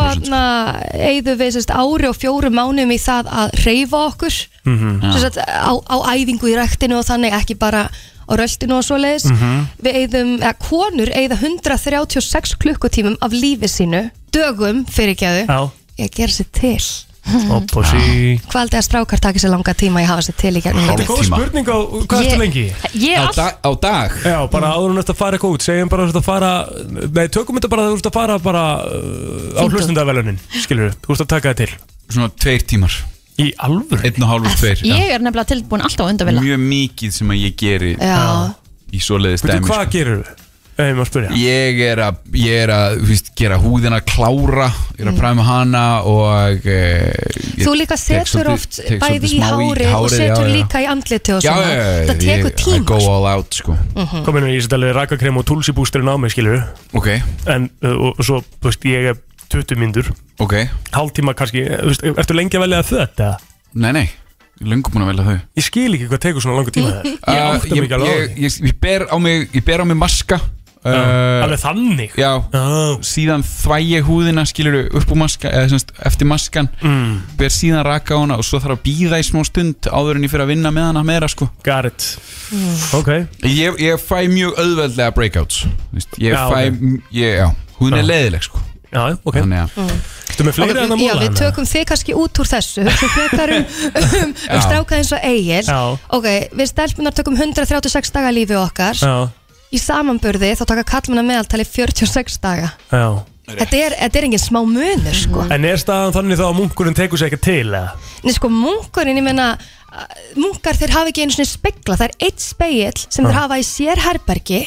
eigðum við sérst, ári og fjórum mánum í það að reyfa okkur
Mhm. Já.
sérst, á, á æfingu í rektinu og þannig ekki bara á röltinu og svoleiðis
Mhm.
við eigðum, eða konur eigða 136 klukkutímum af lífi sínu dögum fyrirgjöðu
Já.
ég gera sér til
Opp og sí
hvað aldrei að strákar taki sér langa tíma að ég hafa sér til í gegnum
Þetta er góð
tíma.
spurning á hvað
Ég-
ertu lengi?
ég Á all-
dag, á dag
Já, bara áður en þetta fara eitthvað út Segjum bara að þetta fara Nei, tökum þetta bara að þú ert að fara bara uh, á
Fimmtán.
hlustundavelunin Skilur þú ert að taka það til
Svona tveir tímar
Í alvöru?
Einn og hálfur tveir já.
Ég er nefnilega tilbúin alltaf að undavilla
Mjög mikið sem að ég geri
Já.
Í svoleiðis
Veitu,
dæmi sko.
hvað gerir þú? um að spyrja
Ég er að, ég er að víst, gera húðina klára, ég er að præma hana og e, ég
Mm. Þú líka
tek
setur
svolítið-
oft
tek
bæði
svolítið
í
smá
hárið og
hárið,
setur
já, já.
líka í andliti og
Já,
svona
já, já, ég-
Það tekur
I go
tíma
all out sko
Mhm.
Komin er ég set alveg rakakrem og tulsibústurinn á mig skilur
Ok
En uh, og, og svo, þú veist, ég er 20 myndur
Ok
Hálftíma kannski, eh, þú veist, ertu lengi að velja þetta?
Nei, nei, ég er löngum búin að velja þau
Ég skil ekki hvað tekur svona langur tíma þér Ég
Uh,
átta mig
ég,
ekki alveg á
ég, ég, ég, ber á mig, ég ber á mig maska
Já,
uh,
alveg þannig Ah,
Já, síðan þvæ ég húðina skilur upp úr maska, eða, semst, eftir maskan mm. ber síðan raka á hana og svo þarf að býða í smá stund áður en ég fyrir að vinna með hana meira sko.
Garrett
Mm.
Ok
ég, ég fæ mjög auðveldlega breakouts Vist, ég
Já,
fæ,
ok.
ég, já, hún er
Já.
leiðileg sko.
Já, ok
Þannig að
Ertu með fleiri en hérna að
Já,
móla
við tökum þig kannski út úr þessu Þú frekar um, um,
Já.
um stráka eins og eigir
Já.
Ok, við stelpunar tökum 136 daga lífi okkar
Já,
Í samanburði þá taka kallmennar meðaltali 46 daga
já
Þetta er, þetta er engin smá munur sko
En er staðan þannig þá að munkurinn tekur sér ekki til eða?
Nei sko munkurinn, ég meina uh, munkar þeir hafa ekki einu svona spegla það er eitt spegill sem þeir
Já.
hafa í sér herbergi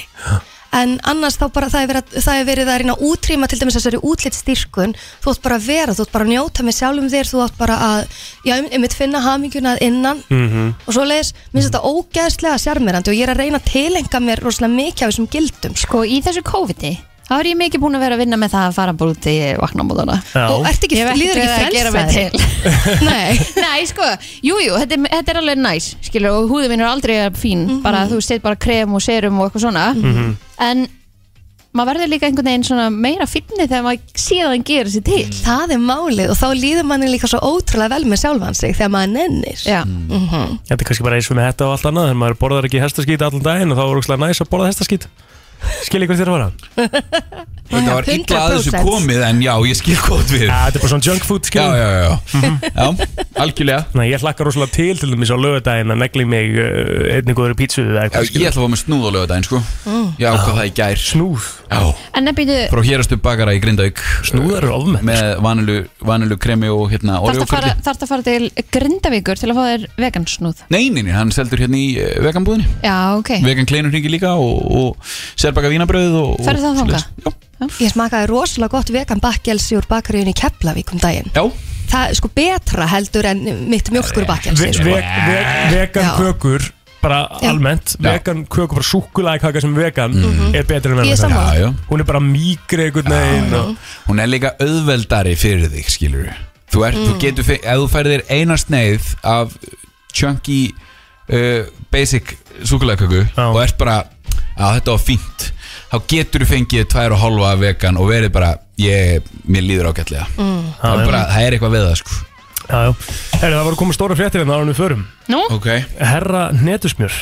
en annars þá bara það er verið, það er verið að reyna að útrýma til dæmis þessari útlitsstyrkun þú átt bara að vera, þú átt bara að njóta með sjálfum þér þú átt bara að, já, einmitt finna haminguna að innan
Mhm.
og svo leiðis, minnst þetta ógeðslega sjarmirandi og ég er að reyna að tilenga mér rosalega mikið af þessum gildum
sko í þessu COVID-i þá er ég mikið búin að vera að vinna með það að fara bara út í vaknamóðana
Já. Og ertu ekki-
Ég hef
líður ekki
verið að gera mig
frelsaðir?
til Nei Nei, sko, jújú, jú, þetta, er- þetta er alveg næs skilur, og húðið minn er aldrei jafn fín
Mhm.
bara þú set bara krem og serum og eitthvað svona
Mhm.
en maður verður líka einhvern veginn svona meira fínni þegar maður síðan gerir sér til
það er málið og þá líður manni líka svo ótrúlega vel með sjálfan sig þegar maður nennir
Já.
Mm
Þetta er kannski bara eins og með þetta og allt annað En maður borðar ekki hestaskít allan daginn Og þá er ókslega næs að borða hestaskít Skil ég hvað þér að vara?
Þetta var illa að þessu komið en já, ég skil gott við
Ja, þetta er bara svona junk food skil
Já, já, já, já. já algjörlega
Nei, ég hlakkar rosalega til til dæmis á lögadaginn að negli mig uh, einnig góður pítsu
Já,
eða eitthvað
Ég ætla að fá með snúð á lögadaginn sko
Mm.
Ég ákvað það í gær
Snúð?
Já,
En nefnir,
frá hérastu bakara í Grindavík
Snúðar eru ofmenn
Með vanilu, vanilu kremi og hérna
þarfst að,
oreokrulli
fara- þarftu að fara til Grindavíkur til að fá þér vegansnúð
Nei, nei, nei, hann seldur hérna í uh, veganbúðinni
Já, ok,
Vegan kleinur hringi líka og, og sérbaka vínabröð og, og
Ferðu þá
svoleiðis.
þangað? Ég smakaði rosalega gott vegan bakkelsi úr bakaríun í Keflavík um daginn
Já
Það er sko betra heldur en mitt mjölkur bakkelsi
Ve ve ve vegan
Já.
kökur bara
Já.
almennt
Já.
vegan kökur, bara súkulækaka sem er vegan er betri en
Mhm. Ég er
vegan
sammála.
Já, já.
hún er bara mýgri einhvern veginn og-
Hún er líka auðveldari fyrir þig, skilur Þú, er, þú
Mm.
getur, fe- ef þú færir þér eina sneið af chunky uh, basic súkulækaku og ert bara, að þetta var fínt þá getur þú fengið tvær og hálfa vegan og verið bara, ég, mér líður ágætlega
Mm.
það,
Já,
er bara,
já.
það er eitthvað við það, sko
Já, já. Herri, það voru komið stóra fréttir hérna en það var við förum
Nú?
okay.
Herra Netusmjör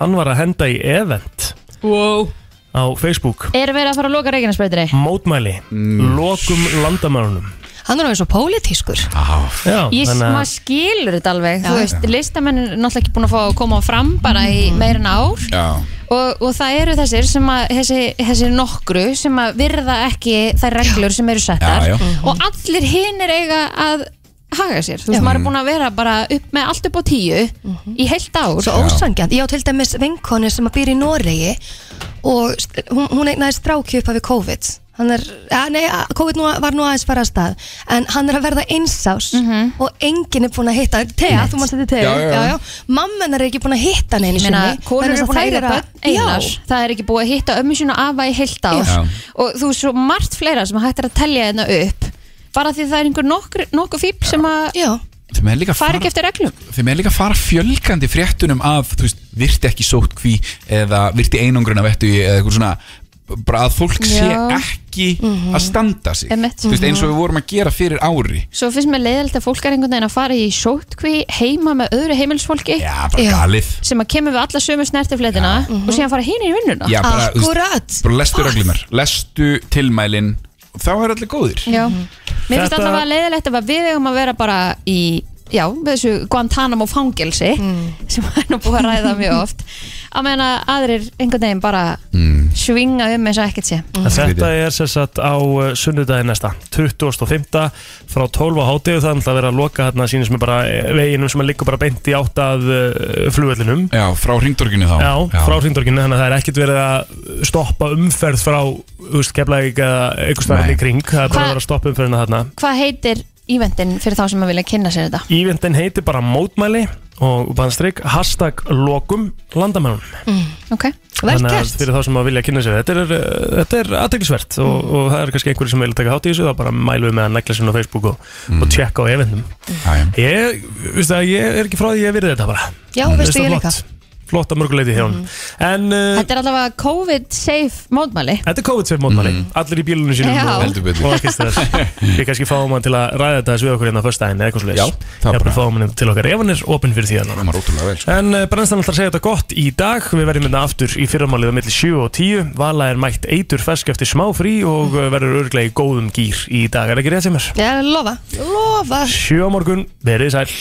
hann var að henda í event
wow.
á Facebook
er verið að fara að loka reginarspöytri
Mm. mótmæli, lokum landamærunum
Hann er alveg svo pólitískur
Já,
Ég,
þannig að-
maður skilur þetta alveg þú
Já.
veist, listamenn er náttúrulega ekki búin að fá að koma fram bara í meira en ár
Já
og, og það eru þessir sem að þessi, þessi nokkru sem að virða ekki þær reglur sem eru settar
Já, já.
og allir hinn er eiga að haga sér, þú veist, maður er búin að vera bara upp með allt upp á tíu í heilt ár
Svo ósangjant, ég á til dæmis vinkonu sem að býr í Noregi og st- hún, hún eignaði stráki upp af við COVID hann er, ja, nei, a- COVID nú, var nú aðeins fara að stað en hann er að verða einsás
Mhm.
og enginn er búin að hitta Tea, þú manst þetta Tea,
Já, já, já.
mamman er ekki búin að hitta hann einu
Ég
sinni
meina, konur
vegna þess
eru búin að
þær
eiga
eru
börn einar
Já.
það er ekki búið að hitta ömmu sína afa í heilt ár
Já.
og þú er svo margt fleira sem hægt er að telja hérna upp bara því það er einhver nokkur, nokkur fíp sem að
Þeim er líka
fara ekki eftir reglum
þeim er líka að fara fjölgandi fréttunum af, þú veist, virti ekki sótt kví eða virti einangrun af ettu eða eitthvað svona, bara að fólk sé
Já. Mhm.
ekki að standa sig
Einmitt.
þú veist, eins og
Mhm.
við vorum að gera fyrir ári
Svo finnst mér leiðilegt að fólk er einhvern veginn að fara í sótkví heima með öðru heimilsfólki Já,
bara galið.
Sem að kemur við alla sömu snertifletina og síðan fara hinn í vinnuna Ah.
Já, bara, þú veist, bara lestu reglunar, lestu tilmælin og þá er allir góðir
Já, Mhm. mér finnst
Þetta-
allavega leiðilegt ef að við eigum að vera bara í já, með þessu Guantanamo fangelsi sem er nú búið að ræða mjög oft að meina aðrir einhvern veginn bara
Mm.
svinga um eins og ekkert sé
En Þetta er sem sagt á uh, sunnudaginn næsta 25. frá 12 á hátíðu það er náttúrulega að vera að loka hérna sínum sem er bara eh, veginum sem er líka bara beint í átt að uh, flugvellinum
Já, frá hringdorginu þá
Já, frá hringdorginu, þannig að það er ekkert verið að stoppa umferð frá keflaðið eða einhvers staðar
Nei.
í kring það er bara
Hva-
verið að stoppa umferðina þarna
Hvað heitir eventin fyrir þá sem að vilja kynna sér þetta?
Ívendin heitir bara mótmæli og bannstrykk hashtag lokum landamænum
Mm. Ok, vel
Þannig að
gert
fyrir þá sem að vilja kynna sér þetta er, uh, þetta er aðteklisvert og,
Mm.
og það er kannski einhverju sem vilja taka hátt í þessu þá bara mælum við með að negla sinna á Facebook og, og
Mm.
tjekka á eventum ég, veistu það, ég er ekki frá því að ég hef verið þetta bara
Já,
Mér
veistu,
finnst það
ég líka. Mm.
flott. flott að mörguleiti hjá hún en uh,
Þetta er allavega COVID-safe mótmæli
Þetta er COVID-safe mótmæli, allir í bílunum sínum
Mm. Já.
og-
Heldur betur.
og ekki stress Við kannski fáum hann til að ræða þetta þessu við okkur hérna á föstudaginn eða eitthvað svo leis Já, það bara fáum hann til okkar ef hann er opinn fyrir því að hann
er ótrúlega vel
En uh, brennstan ætlar að segja þetta gott í dag Við verðum hérna aftur í fyrramálið á milli 7 og 10 Vala er mætt eitur fersk eftir smá frí og uh, verður örglega í góðum gýr í dag Er ekki rétt sem er?
Já, lofa, lofa
7 á morgun, verið sæl